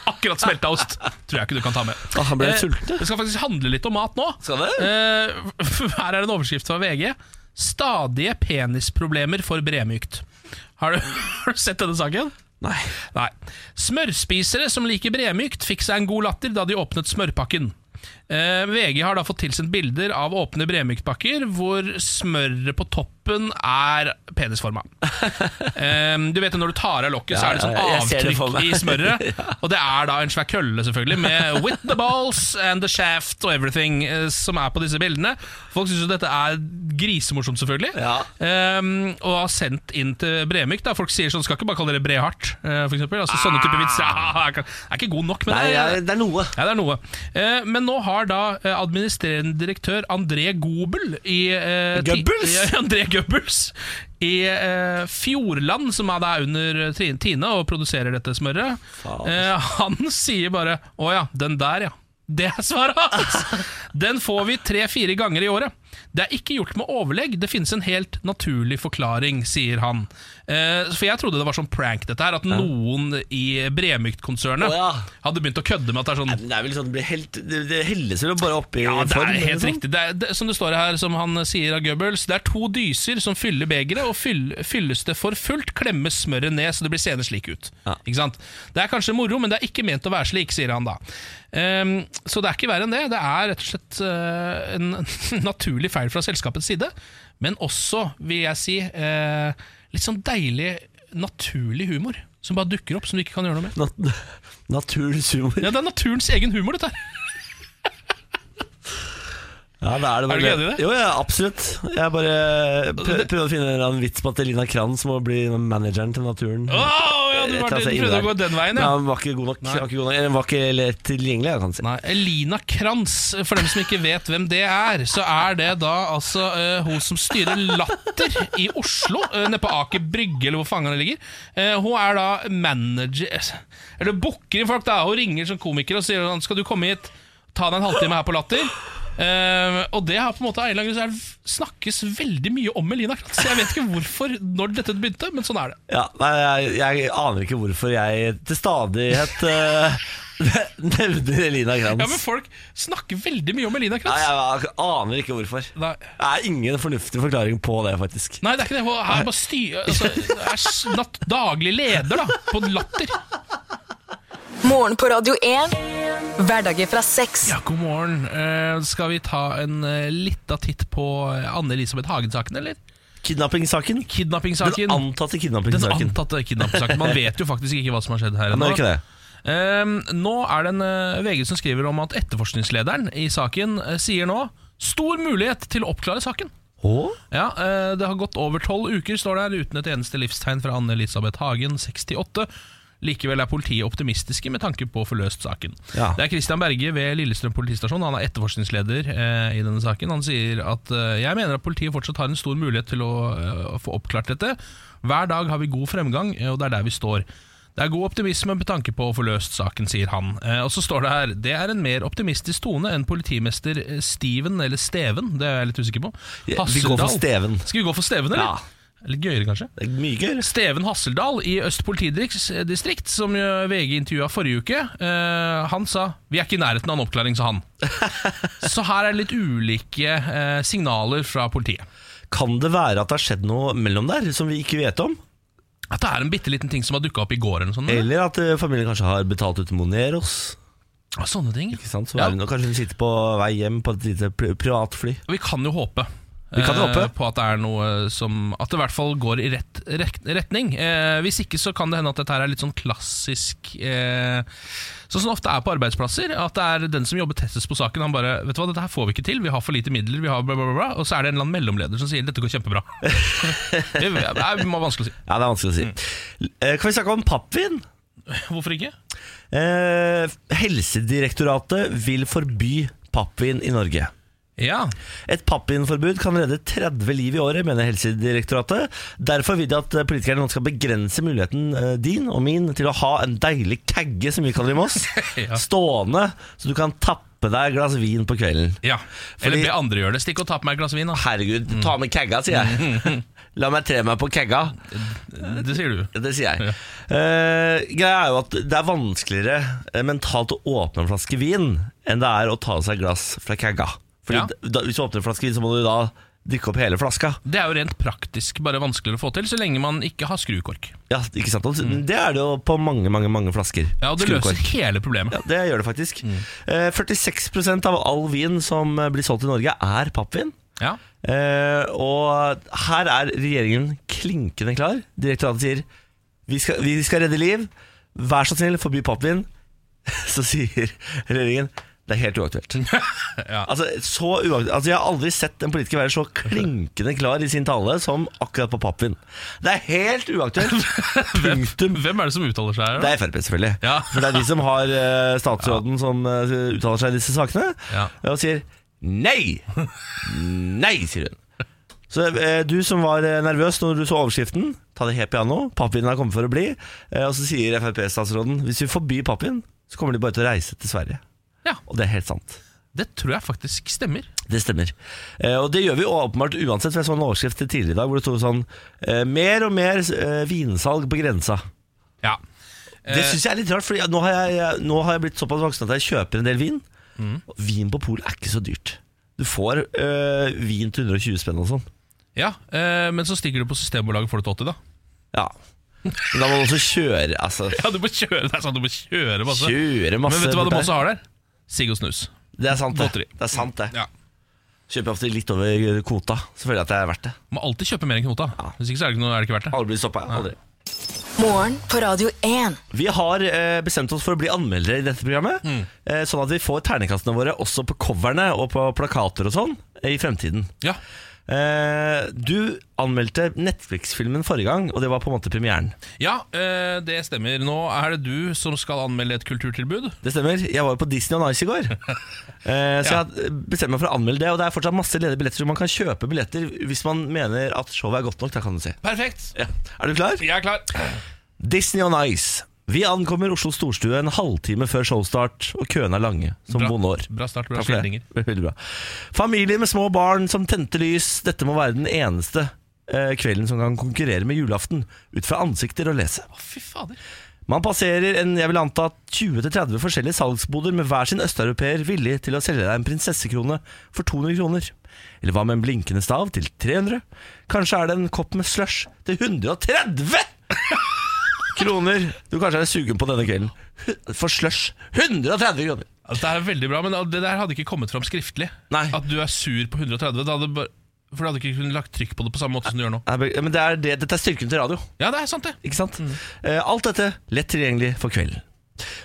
B: Akkurat smelta ost tror jeg ikke du kan ta med.
A: Å, Ah, han ble
B: Eh,
A: litt sulten, ja.
B: Det skal faktisk handle litt om mat nå.
A: Skal det?
B: Eh, her er en overskrift fra VG. Stadige penisproblemer for bremykt. Har du, har du sett denne saken?
A: Nei
B: Nei. Smørspisere som liker bremykt, fikk seg en god latter da de åpnet smørpakken. Eh, VG har da fått tilsendt bilder av åpne bremyktpakker hvor smøret på toppen er penisforma. Eh, du vet jo når du tar av lokket, så er det sånn
A: Ja, ja, jeg ser det for
B: avtrykk
A: meg.
B: i smøret. Og det er da en svær kølle, selvfølgelig, med 'with the balls and the shaft' og everything eh, som er på disse bildene. Folk syns jo dette er grisemorsomt, selvfølgelig.
A: Ja.
B: Ehm, og har sendt inn til Bremyk. Da. Folk sier sånn, skal ikke bare kalle dere Brehardt, eh, for eksempel. Altså, sånne type vitser ah, er ikke- er ikke god nok, men
A: Nei,
B: det er-
A: jeg- det er noe
B: ja, det er noe. Eh, men nå har da eh, administrerende direktør André Gobel i eh, ti-
A: Goebbels?
B: Ja, André Goebbels i eh, Fjordland, som er da under Tri- Tine og produserer dette smøret, eh, han sier bare Å ja, den der, ja. Det er svaret hans! Den får vi tre-fire ganger i året. Det er ikke gjort med overlegg, det finnes en helt naturlig forklaring, sier han. Eh, for jeg trodde det var sånn prank, dette her, at noen i Bremykt-konsernet
A: Å ja.
B: hadde begynt å kødde med at det er sånn
A: Nei, men Det er vel sånn Det, blir helt, det, det helles vel bare oppi
B: ja, det
A: form,
B: er
A: eller
B: helt
A: sånn?
B: riktig. Det er, det, som det står her, som han sier av Goebbels, det er to dyser som fyller begeret, og fyll, fylles det for fullt, klemmes smøret ned, så det blir seende slik ut.
A: Ja.
B: Ikke sant? Det er kanskje moro, men det er ikke ment å være slik, sier han da. Ehm, så det er ikke verre enn det. Det er rett og slett eh, en naturlig feil fra selskapets side, men også, vil jeg si, eh, litt sånn deilig, naturlig humor. Som bare dukker opp, som du ikke kan gjøre noe med.
A: Nat Naturens humor
B: Ja, Det er naturens egen humor, dette her.
A: Ja, det er det
B: Er du
A: bare-
B: ikke enig i det?
A: Jo, ja, absolutt. Jeg bare prøv, prøvde å finne en eller annen vits på at Elina Kranz må bli manageren til naturen.
B: Å, ja, du,
A: Et eller
B: var,
A: annet
B: du
A: sted
B: prøvde å gå
A: inni der.
B: den veien,
A: Nei,
B: ja.
A: han var ikke god nok. Han var ikke, god nok. Eller, han var ikke lett tilgjengelig, jeg kan si.
B: Nei, Elina Kranz, for dem som ikke vet hvem det er, så er det da altså eh, hun som styrer Latter i Oslo, eh, nede på Aker Brygge, eller hvor fangene ligger. Eh, hun er da manager eh, Eller booker inn folk, da. Hun ringer som komiker og sier sånn, skal du komme hit, ta deg en halvtime her på Latter. Eh, og det har på en måte av en eller annen grunn så er det- snakkes veldig mye om Elina Kranz. Jeg vet ikke hvorfor, når dette begynte, men sånn er det.
A: Ja, nei, jeg, jeg aner ikke hvorfor jeg til stadighet eh, nevner Elina Kranz.
B: Ja, men Folk snakker veldig mye om Elina
A: Nei,
B: Kranz.
A: jeg aner ikke hvorfor.
B: Nei.
A: Det er ingen fornuftig forklaring på det, faktisk.
B: Nei, det er ikke det. Hun er bare styr, altså, er s- natt, daglig leder da, på latter.
C: Morgen på Radio 1. Hverdager fra seks.
B: Ja, god morgen. Eh, skal vi ta en uh, lita titt på eh, Anne-Elisabeth Hagen-saken, eller?
A: Kidnappingssaken? Den
B: Kidnappingssaken.
A: antatte
B: Den
A: kidnappingssaken.
B: antatte kidnappingssaken. Man vet jo faktisk ikke hva som har skjedd her
A: Ja, nå er det ikke det.
B: Ehm, nå er det en eh, VG som skriver om at etterforskningslederen i saken eh, sier nå stor mulighet til å oppklare saken.
A: Å?
B: Ja, eh, Det har gått over tolv uker, står det her, uten et eneste livstegn fra Anne Elisabeth Hagen, 68. Likevel er politiet optimistiske med tanke på å få løst saken.
A: Ja.
B: Det er Christian Berge ved Lillestrøm politistasjon. Han er etterforskningsleder eh, i denne saken. Han sier at eh, jeg mener at politiet fortsatt har en stor mulighet til å eh, få oppklart dette. Hver dag har vi god fremgang, eh, og det er der vi står. Det er god optimisme med tanke på å få løst saken, sier han. Eh, og så står det her det er en mer optimistisk tone enn politimester eh, Steven, eller Steven, det er jeg litt usikker på.
A: Ja, vi går for
B: Hasseldal.
A: Steven.
B: Skal vi gå for Steven, eller?
A: Ja.
B: Litt gøyere, kanskje?
A: Det er mye gøy.
B: Steven Hasseldal i Øst politidistrikt, som jo VG intervjua forrige uke, eh, han sa 'vi er ikke i nærheten av en oppklaring', sa han. Så her er det litt ulike eh, signaler fra politiet.
A: Kan det være at det har skjedd noe mellom der som vi ikke vet om?
B: At det er en bitte liten ting som har dukka opp i går, eller noe sånt. eller?
A: Eller at eh, familien kanskje har betalt ut Moneros? Eh,
B: Ja, Sånne ting.
A: Ikke sant? Så
B: Ja.
A: er hun, kanskje hun sitter på vei hjem på et lite pri- privatfly.
B: Vi kan jo håpe.
A: Vi kan jo
B: eh,
A: håpe.
B: På at det er noe som At det i hvert fall går i rett, rek- retning. Eh, hvis ikke så kan det hende at dette her er litt sånn klassisk eh, Sånn som det ofte er på arbeidsplasser. At det er den som jobber tettest på saken, han bare 'Vet du hva, dette her får vi ikke til. Vi har for lite midler.' Vi har bla, bla, bla, bla. Og så er det en eller annen mellomleder som sier 'Dette går kjempebra'. det er må være vanskelig å si.
A: Ja, det er vanskelig å si. Eh, Kan vi snakke om pappvin?
B: Hvorfor ikke?
A: Eh, helsedirektoratet vil forby pappvin i Norge.
B: Ja.
A: Et pappvinforbud kan redde 30 liv i året, mener Helsedirektoratet. Derfor vil de at politikerne nå skal begrense muligheten eh, din og min til å ha en deilig kagge, som vi kaller det i Moss,
B: Ja.
A: stående, så du kan tappe deg et glass vin på kvelden.
B: ja. Mm. Eller
A: Fordi-
B: be andre gjøre det. Stikk og ta på meg et glass vin, da.
A: Herregud, ta med kagga, sier jeg. La meg tre meg på kagga.
B: Det sier du.
A: Det sier jeg. Eh, greia er jo at det er vanskeligere eh, mentalt å åpne en flaske vin enn det er å ta seg et glass fra kagga. Fordi
B: Ja.
A: da, Hvis du åpner en flaske vin, så må du da drikke opp hele flaska.
B: Det er jo rent praktisk bare vanskeligere å få til, så lenge man ikke har skrukork.
A: Ja, ikke sant? Og Det er det jo på mange, mange, mange flasker.
B: Mm. Ja, og det løser Mm.
A: Skrukork.
B: hele problemet.
A: Ja, det gjør det faktisk. Eh, 46 av all vin som eh, blir solgt i Norge, er pappvin.
B: Ja.
A: Eh, og her er regjeringen klinkende klar. Direktoratet sier vi skal, vi skal redde liv, vær så snill, forby pappvin. Så sier regjeringen det er helt uaktuelt.
B: Ja.
A: altså, så uaktuelt. Altså, jeg har aldri sett en politiker være så klinkende klar i sin tale som akkurat på pappvin. Det er helt uaktuelt! Punktum.
B: Hvem er det som uttaler seg her?
A: Det er Frp, selvfølgelig.
B: Ja.
A: For det er de som har eh, statsråden som eh, uttaler seg i disse sakene,
B: Ja.
A: og sier nei! Nei, sier hun. Så eh, du som var eh, nervøs når du så overskriften, ta det helt piano. Pappvinen har kommet for å bli. Eh, og så sier Frp-statsråden hvis vi forbyr pappvin, så kommer de bare til å reise til Sverige.
B: Ja.
A: Og det er helt sant.
B: Det tror jeg faktisk stemmer.
A: Det stemmer. Eh, og det gjør vi åpenbart uansett. For jeg så en overskrift til tidligere i dag hvor det sto sånn eh, Mer og mer eh, vinsalg på grensa.
B: Ja.
A: Det syns jeg er litt rart, for nå, har jeg- jeg- nå har jeg blitt såpass voksen at jeg kjøper en del vin.
B: Mm.
A: Og Vin på Pol er ikke så dyrt. Du får øh, vin til 120 spenn og sånn.
B: Ja, eh, Men så stikker du på Systembolaget og får det til 80, da.
A: Ja. Men da må du også kjøre altså,
B: Ja, du må kjøre, det er sant, du må kjøre masse.
A: Kjøre masse.
B: men vet du hva
A: bort
B: de
A: der.
B: også har der? Sigg og snus.
A: Det er sant, det.
B: Godteri.
A: det, er sant, det.
B: Ja.
A: Kjøper ofte litt over kvota. Så føler jeg at det er verdt det.
B: Må alltid kjøpe mer enn knota. Hvis ikke så er det ikke, noe, er det ikke verdt det.
A: Aldri blir stoppa. Aldri.
C: Morgen på Radio 1.
A: Vi har eh, bestemt oss for å bli anmeldere i dette programmet.
B: Mm.
A: Eh, sånn at vi får ternekastene våre også på coverne og på plakater og sånn eh, i fremtiden.
B: Ja,
A: Eh, du anmeldte Netflix-filmen forrige gang, og det var på en måte premieren.
B: ja eh, det stemmer. Nå er det du som skal anmelde et kulturtilbud.
A: Det stemmer. Jeg var jo på Disney on Ice i går. Eh, så
B: Ja.
A: jeg bestemte meg for å anmelde det. Og det er fortsatt masse ledige billetter, så man kan kjøpe billetter hvis man mener at showet er godt nok. Da kan du si.
B: Perfekt.
A: Ja. Er du klar?
B: Jeg er klar.
A: Disney on Ice. Vi ankommer Oslo storstue en halvtime før showstart, og køene er lange, som vonde år.
B: Bra start, bra
A: Takk for det.
B: skildringer.
A: Veldig bra. Familier med små barn som tente lys. Dette må være den eneste eh, kvelden som kan konkurrere med julaften, ut fra ansikter og lese.
B: Å, fy fader.
A: Man passerer en jeg vil anta 20-30 forskjellige salgsboder med hver sin østeuropeer villig til å selge deg en prinsessekrone for 200 kroner. Eller hva med en blinkende stav til 300? Kanskje er det en kopp med slush til 130 kroner du kanskje er sugen på denne kvelden. For slush 130 kroner!
B: Altså, det er veldig bra, men det der hadde ikke kommet fram skriftlig.
A: Nei.
B: At du er sur på 130. Det hadde bare, for du hadde ikke kunnet lagt trykk på det på samme måte som du gjør nå.
A: Nei, be- Men det er det, dette er styrken til radio.
B: Ja, det er sant, det.
A: Ikke sant? Eh, Alt dette lett tilgjengelig for kvelden.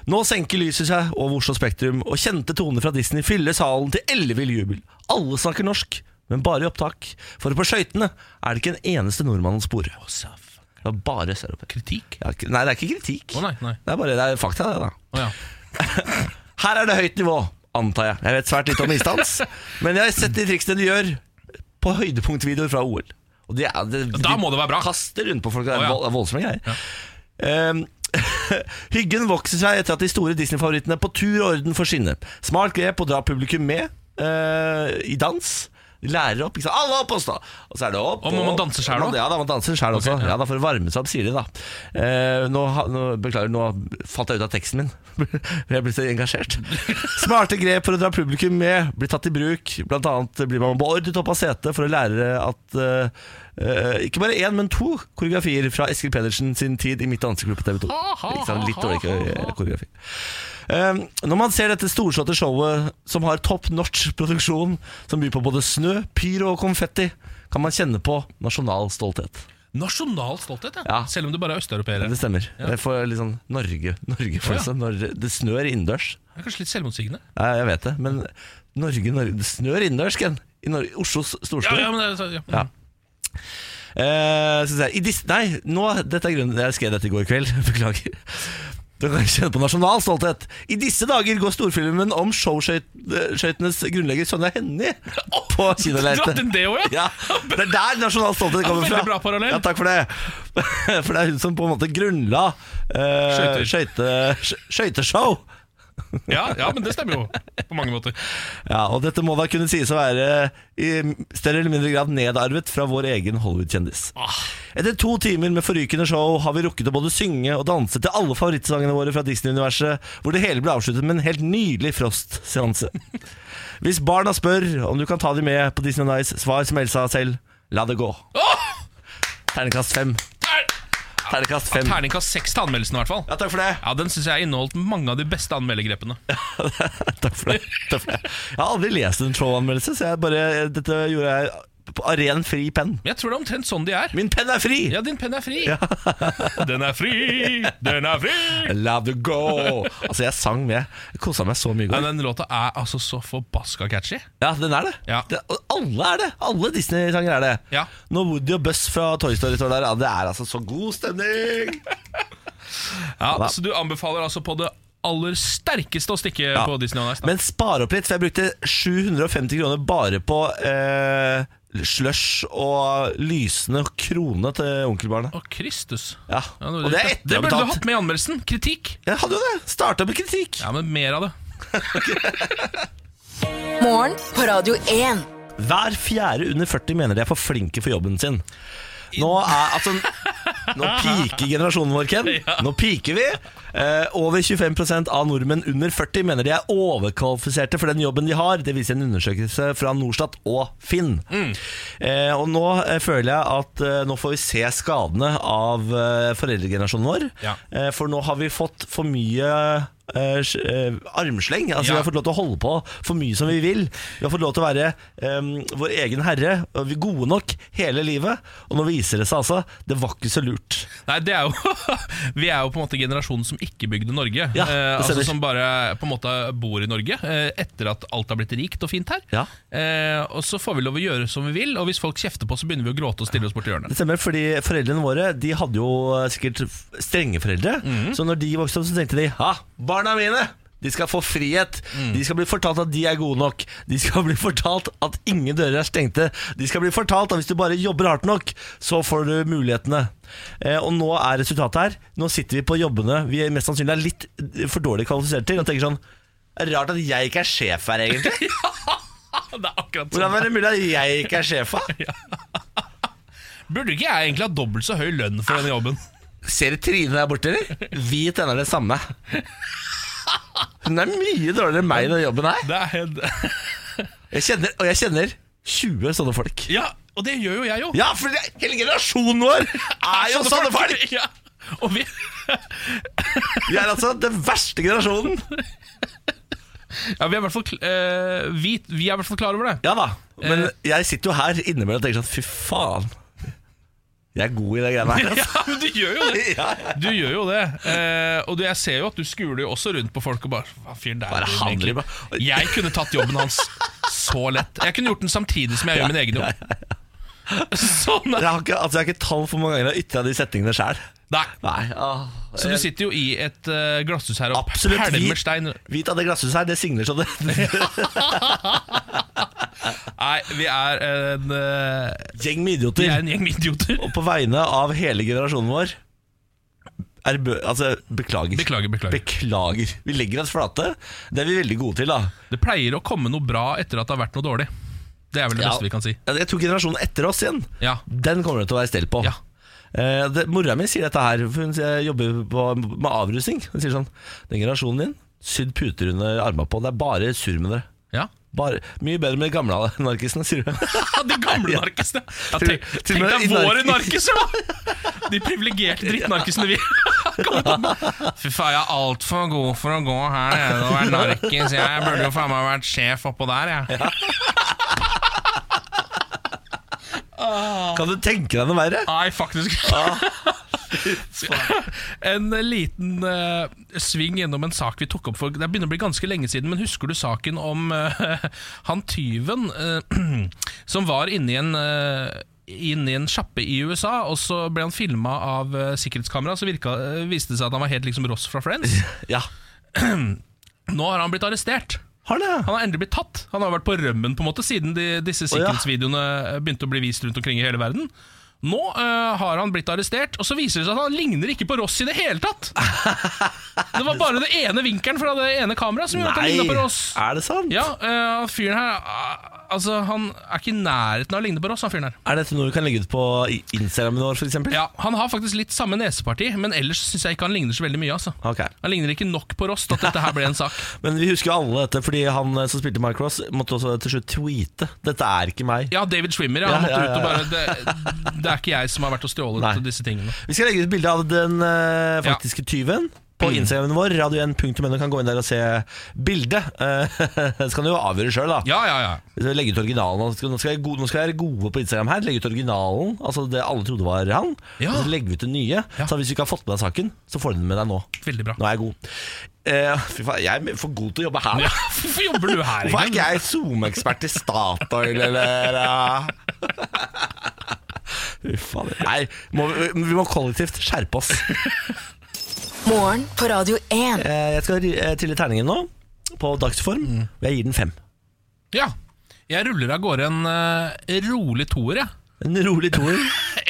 A: Nå senker lyset seg over Oslo Spektrum, og kjente toner fra Disney fyller salen til ellevill jubel. Alle snakker norsk, men bare i opptak, for på skøytene er det ikke en eneste nordmann å spore. Det var bare søreuropeere.
B: Kritikk?
A: Ja, k- nei, det er ikke kritikk.
B: Å nei, nei.
A: Det er bare det er fakta, det, da.
B: Å ja.
A: Her er det høyt nivå, antar jeg. Jeg vet svært lite om isdans. men jeg har sett de triksene de gjør på høydepunktvideoer fra OL. Og de, er, de,
B: da må det være bra.
A: De kaster rundt på folk. Det er
B: Å, ja.
A: vold- det er voldsomme greier. Ehm, hyggen vokser seg etter at de store Disney-favorittene på tur og orden får skinne. Smart grep å dra publikum med eh, i dans. De lærer opp. Ikke sant? Alle opp og stå! Og så er det opp.
B: Og må man
A: opp.
B: danse selv også?
A: Ja, da, man danser sjæl også. ja. da, For å varme seg opp, sier de da. Eh, nå, ha- nå, beklager, nå falt jeg ut av teksten min. jeg ble så engasjert. Smarte grep for å dra publikum med blir tatt i bruk. Blant annet blir man beordret opp av setet for å lære at eh, eh, ikke bare én, men to koreografier fra Eskil Pedersen sin tid i Mitt dansegruppe TV 2. Ikke sant? Litt dårlig eh, koreografi. Eh, når man ser dette storslåtte showet som har top notch produksjon, som byr på både snø, pyro og konfetti, kan man kjenne på nasjonal stolthet.
B: Nasjonal stolthet, ja.
A: Ja.
B: Selv om du bare er østeuropeere.
A: Det stemmer. Jeg får litt sånn Norge, Norge for
B: Ja.
A: seg, når det snør innendørs.
B: Det er kanskje litt selvmotsigende.
A: Ja, jeg vet det, men Norge, Norge Det snør innendørs, Ken. I Norge, Oslos
B: Ja,
A: storstue.
B: ja, men det, er- ja. mm.
A: Ja. Eh, så sier jeg, i dis Nei, nå, dette er grunnen Jeg skrev dette i går kveld, beklager Du kan kjenne på nasjonal stolthet I disse dager går storfilmen om showskøytenes grunnlegger Sonja Hennie På
B: Dratt
A: kinoleite
B: inn det også, ja?
A: ja, Det er der nasjonal stolthet kommer
B: Ja,
A: fra
B: veldig bra parallell.
A: Ja, takk for det For det er hun som på en måte grunnla eh,
B: Skøyter.
A: skøyte- skø- Skøyteshow
B: ja? Ja, men det stemmer jo. På mange måter.
A: ja, og dette må da kunne sies å være i større eller mindre grad nedarvet fra vår egen Hollywood-kjendis.
B: Ah,
A: Etter to timer med forrykende show har vi rukket å både synge og danse til alle favorittsangene våre fra Disney-universet, hvor det hele ble avsluttet med en helt nydelig Frost-seanse. Hvis barna spør om du kan ta dem med på Disney on Ice, svar som Elsa selv la det gå. Ternekast fem.
B: Ter-
A: Ternekast fem.
B: Terningkast seks til anmeldelsen, i hvert fall.
A: Ja, takk for det.
B: Ja, Den syns jeg inneholdt mange av de beste anmeldergrepene.
A: Takk for det. Takk for det. Jeg har aldri lest en showanmeldelse, så jeg bare, dette gjorde jeg på- av ren fri penn.
B: Men jeg tror det er omtrent sånn de er.
A: Min penn er fri!
B: Ja, din penn er fri. Den er fri, den er fri.
A: Love to go Altså jeg sang med Jeg koset meg så mye i
B: Ja,
A: går
B: den låta er altså så forbaska catchy.
A: Ja, den er det,
B: Ja.
A: det og Alle er det Alle Disney-sanger er det
B: Ja.
A: Når Woody og Buzz fra Toy Story står der ja, Det er altså så god stemning
B: Ja, Så du anbefaler altså på det aller sterkeste å stikke på Disney on Ice? da.
A: Men spar opp litt For jeg brukte 750 kroner bare på eh, Slush og lysende krone til onkelbarnet
B: Å, Kristus.
A: Ja,
B: Ja,
A: og det er
B: det burde du
A: etterbetalt
B: hatt med i anmeldelsen. Kritikk.
A: Jeg hadde jo det Startet med kritikk
B: Ja, men mer av det.
C: Morgen på Radio 1.
A: Hver fjerde under 40 mener de er for flinke for jobben sin. Nå er altså Nå piker generasjonen vår, Ken. Nå piker vi. Eh, over 25 av nordmenn under 40 mener de er overkvalifiserte for den jobben de har. Det viser en undersøkelse fra Norstat og Finn. Eh, og nå eh, føler jeg at eh, nå får vi se skadene av eh, foreldregenerasjonen vår.
B: Ja.
A: Eh, for nå har vi fått for mye eh, sj- eh, armsleng. Altså,
B: Ja.
A: Vi har fått lov til å holde på for mye som vi vil. Vi har fått lov til å være em, vår egen herre, og vi er gode nok hele livet. Og nå viser det seg altså, det var ikke så lurt.
B: Nei, det er jo Vi er jo på en måte generasjonen som ikke bygde Norge.
A: Ja, det
B: eh, altså
A: stemmer.
B: Som bare på en måte bor i Norge eh, etter at alt har blitt rikt og fint her.
A: Ja.
B: Eh, og så får vi lov å gjøre som vi vil, og hvis folk kjefter på oss, så begynner vi å gråte og stille oss borti hjørnet.
A: Det stemmer, fordi foreldrene våre De hadde jo eh, sikkert f- strenge foreldre Så når de vokste opp så tenkte de Ha, barna mine! De skal få frihet De skal bli fortalt at de er gode nok De skal bli fortalt at ingen dører er stengte De skal bli fortalt at hvis du bare jobber hardt nok Så får du mulighetene eh, Og nå er resultatet her Nå sitter vi på jobbene Vi er mest sannsynlig er litt eh, for dårlig kvalifisert til Og tenker sånn "Det er Rart at jeg ikke er sjef her egentlig
B: Det er akkurat sånn.
A: Hvordan er det mulig at jeg ikke er sjef her?
B: Burde ikke jeg egentlig ha dobbelt så høy lønn for denne jobben?
A: Ser du Trine der borte, eller? Vi tjener det samme. Hun er mye dårligere enn meg i den jobben her.
B: Det er,
A: Jeg kjenner, og jeg kjenner 20 sånne folk.
B: ja, og det gjør jo jeg jo.
A: Ja, for det, hele generasjonen vår er jo sånne folk!
B: Ja. Og vi,
A: Vi er altså den verste generasjonen.
B: ja, vi, er i hvert fall, kl- eh, vi, vi er i hvert fall klar over det.
A: Ja da, men jeg sitter jo her innimellom og tenker sånn Fy faen. Jeg er god i de greiene her. altså.
B: Ja, men du gjør jo det.
A: Ja, ja.
B: Du gjør jo det. Eh, og du, jeg ser jo at du skuler jo også rundt på folk og bare Hva fyren der
A: Bare
B: er
A: han
B: egentlig-
A: driver med-
B: Jeg kunne tatt jobben hans så lett. Jeg kunne gjort den samtidig som jeg gjør min egen jobb. Sånn er
A: Jeg har ikke, altså, jeg har ikke tall for hvor mange ganger jeg har ytra de setningene sjøl.
B: Nei. Så du
A: Absolutt.
B: sitter jo i et eh, glasshus her og
A: Vi,
B: pælmer stein.
A: Hvit av det glasshuset her, det singler så det
B: Nei, vi er en, eh,
A: Gjeng med
B: vi
A: idioter.
B: er en gjeng med idioter.
A: Og på vegne av hele generasjonen vår er bø altså, beklager.
B: Beklager, beklager.
A: Beklager. Vi legger oss flate. Det er vi veldig gode til, da.
B: Det pleier å komme noe bra etter at det har vært noe dårlig. Det er vel det
A: Ja.
B: beste vi kan si.
A: Ja, Altså, Jeg tror generasjonen etter oss igjen,
B: Ja.
A: den kommer det til å være stell på.
B: Ja.
A: Eh, det, mora mi sier dette her, for hun sier- jobber på, med avrusning. Hun sier sånn Den generasjonen din, sydd puter under armene på. Det er bare surr med dere.
B: Ja.
A: Bare, mye bedre med de gamle narkisene, sier hun.
B: Ja, De gamle narkisene. Ja,
A: Til-
B: tenk,
A: til og
B: tenk
A: med
B: deg
A: i
B: våre
A: narkis.
B: narkiser, da! De privilegerte drittnarkisene vi kommer til å bli. Fy faen, jeg er altfor god for å gå her nede og være narkis. Jeg burde jo faen meg vært sjef oppå der, jeg.
A: Kan du tenke deg noe verre?
B: Nei, faktisk En liten eh, sving gjennom en sak vi tok opp for Det begynner å bli ganske lenge siden, men husker du saken om eh, han tyven eh, som var inni en eh, Inni en sjappe i USA, og så ble han filma av eh, sikkerhetskamera. Så virka, eh, viste det seg at han var helt liksom Ross fra Friends.
A: Ja.
B: Nå har han blitt arrestert.
A: Har det, ja.
B: Han har endelig blitt tatt. Han har vært på rømmen på en måte siden de,
A: Å,
B: disse
A: ja.
B: sikkerhetsvideoene eh, begynte å bli vist rundt omkring i hele verden. Nå eh, har han blitt arrestert, og så viser det seg at han ligner ikke på Ross i det hele tatt! Det var bare den ene vinkelen fra det ene kameraet som gjorde at han ligna på Ross.
A: er det sant?
B: Ja, eh, han fyren her eh, Altså, han er ikke i nærheten av å ligne på Ross, han fyren her.
A: Er dette noe vi kan legge ut på i- Instagramen vår, f.eks.?
B: Ja, Han har faktisk litt samme neseparti, men ellers syns jeg ikke han ligner så veldig mye. altså
A: Ok.
B: Han ligner ikke nok på Ross til at dette her ble en sak.
A: Men vi husker jo alle dette, fordi han eh, som spilte Mike Ross, måtte også til slutt tweete 'Dette er ikke meg'.
B: Ja, David Schwimmer. Ja,
A: Ja,
B: han måtte
A: ja,
B: ut og
A: ja,
B: bare det, det er ikke jeg som har vært og stjålet
A: Nei.
B: disse tingene.
A: Vi skal legge ut bilde av den eh, faktiske tyven på
B: Mm.
A: Instagramen vår. Radio1.no kan gå inn der og se bildet. Eh, så kan du jo avgjøre sjøl, da.
B: Ja, ja, ja.
A: Vi skal Legge ut originalen. Nå skal, nå skal jeg go- nå skal jeg være gode på Instagram her. Legge ut originalen, altså det alle trodde var han.
B: Ja.
A: Og så legger vi ut det nye.
B: Ja.
A: Så hvis du ikke har fått med deg saken, så får du den med deg nå.
B: Veldig bra.
A: Nå er jeg god. Eh, fy faen, jeg er for god til å jobbe her.
B: Ja, Hvorfor jobber du her?
A: Hvorfor er
B: egentlig?
A: ikke jeg SoMe-ekspert i Statoil, eller ja? Fy faen. Nei, må vi, vi må kollektivt skjerpe oss.
C: Morgen på Radio 1.
A: Eh, Jeg skal eh, trille terningen nå, på dagsform. og Jeg gir den fem.
B: Ja. Jeg ruller av gårde en eh, rolig toer, jeg.
A: En rolig toer.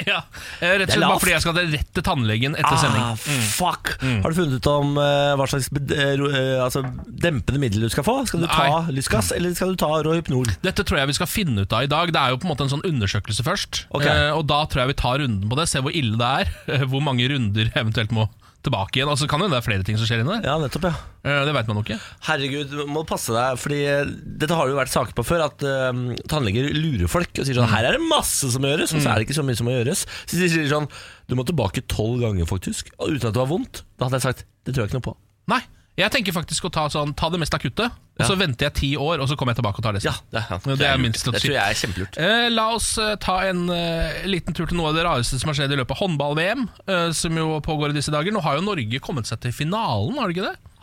B: Ja. eh, Rett og
A: Det er
B: slett bare
A: lavt.
B: fordi jeg skal rett til tannlegen etter
A: Ah,
B: sending.
A: fuck! Mm. Har du funnet ut om eh, hva slags bed- eh, ro- eh, altså, dempende middel du skal få? Skal du ta lysgass, eller skal du ta Rohypnol?
B: Dette tror jeg vi skal finne ut av i dag. Det er jo på en måte en sånn undersøkelse først.
A: Ok.
B: Eh, og da tror jeg vi tar runden på det, ser hvor ille det er. eh, Hvor mange runder eventuelt må tilbake igjen. Altså kan jo det er flere ting som skjer inni der.
A: Ja, nettopp, ja.
B: Eh, Det veit man jo ikke.
A: Herregud, må du passe deg, fordi eh, dette har det jo vært saker på før, at eh, tannleger lurer folk og
B: Mm.
A: sier sånn Her er det masse som må gjøres, og så er det ikke så mye som må gjøres. Så de sier sånn Du må tilbake tolv ganger, faktisk, og uten at du har vondt. Da hadde jeg sagt Det tror jeg ikke noe på.
B: Nei. Jeg tenker faktisk å ta, sånn, ta det mest akutte, og så venter jeg ti år, og så kommer jeg tilbake og tar det.
A: Ja, det, ja,
B: det er min
A: Det
B: strategi.
A: tror jeg er kjempelurt.
B: Eh, la oss eh, ta en eh, liten tur til noe av det rareste som har skjedd i løpet av håndball-VM, eh, som jo pågår i disse dager. Nå har jo Norge kommet seg til finalen, har det ikke det?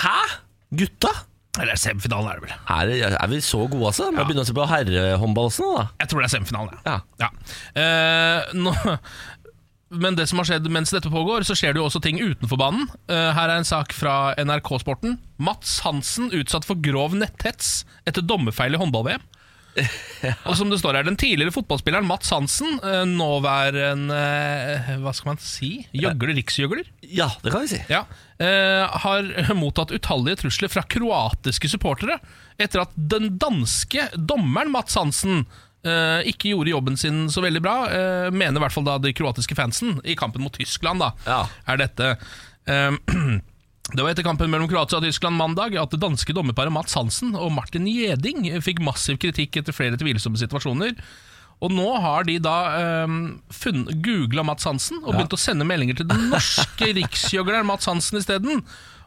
A: Hæ? Gutta?
B: Eller semifinalen er det vel.
A: Her er, er vi så gode, altså? Må
B: Ja.
A: begynne å se på herrehåndball også, nå, da.
B: Jeg tror det er semifinalen,
A: Ja.
B: Eh, nå, men det som har skjedd mens dette pågår, så skjer det jo også ting utenfor banen. Eh, her er en sak fra NRK Sporten. Mats Hansen utsatt for grov netthets etter dommerfeil i håndball-VM. Og som det står her, Den tidligere fotballspilleren Mats Hansen, eh, nåværende eh, Hva skal man si? Gjøgler, riksgjøgler?
A: Ja, det kan vi si.
B: Ja, eh, har mottatt utallige trusler fra kroatiske supportere etter at den danske dommeren Mats Hansen eh, ikke gjorde jobben sin så veldig bra, eh, mener i hvert fall da de kroatiske fansen i kampen mot Tyskland, da,
A: Ja.
B: er dette. Eh, det var etter kampen mellom Kroatia og Tyskland mandag at det danske dommerparet Mats Hansen og Martin Gjeding fikk massiv kritikk etter flere tvilsomme situasjoner. Og nå har de da eh, funn- googla Mats Hansen og begynt å sende meldinger til den norske riksgjøgleren Mats Hansen isteden.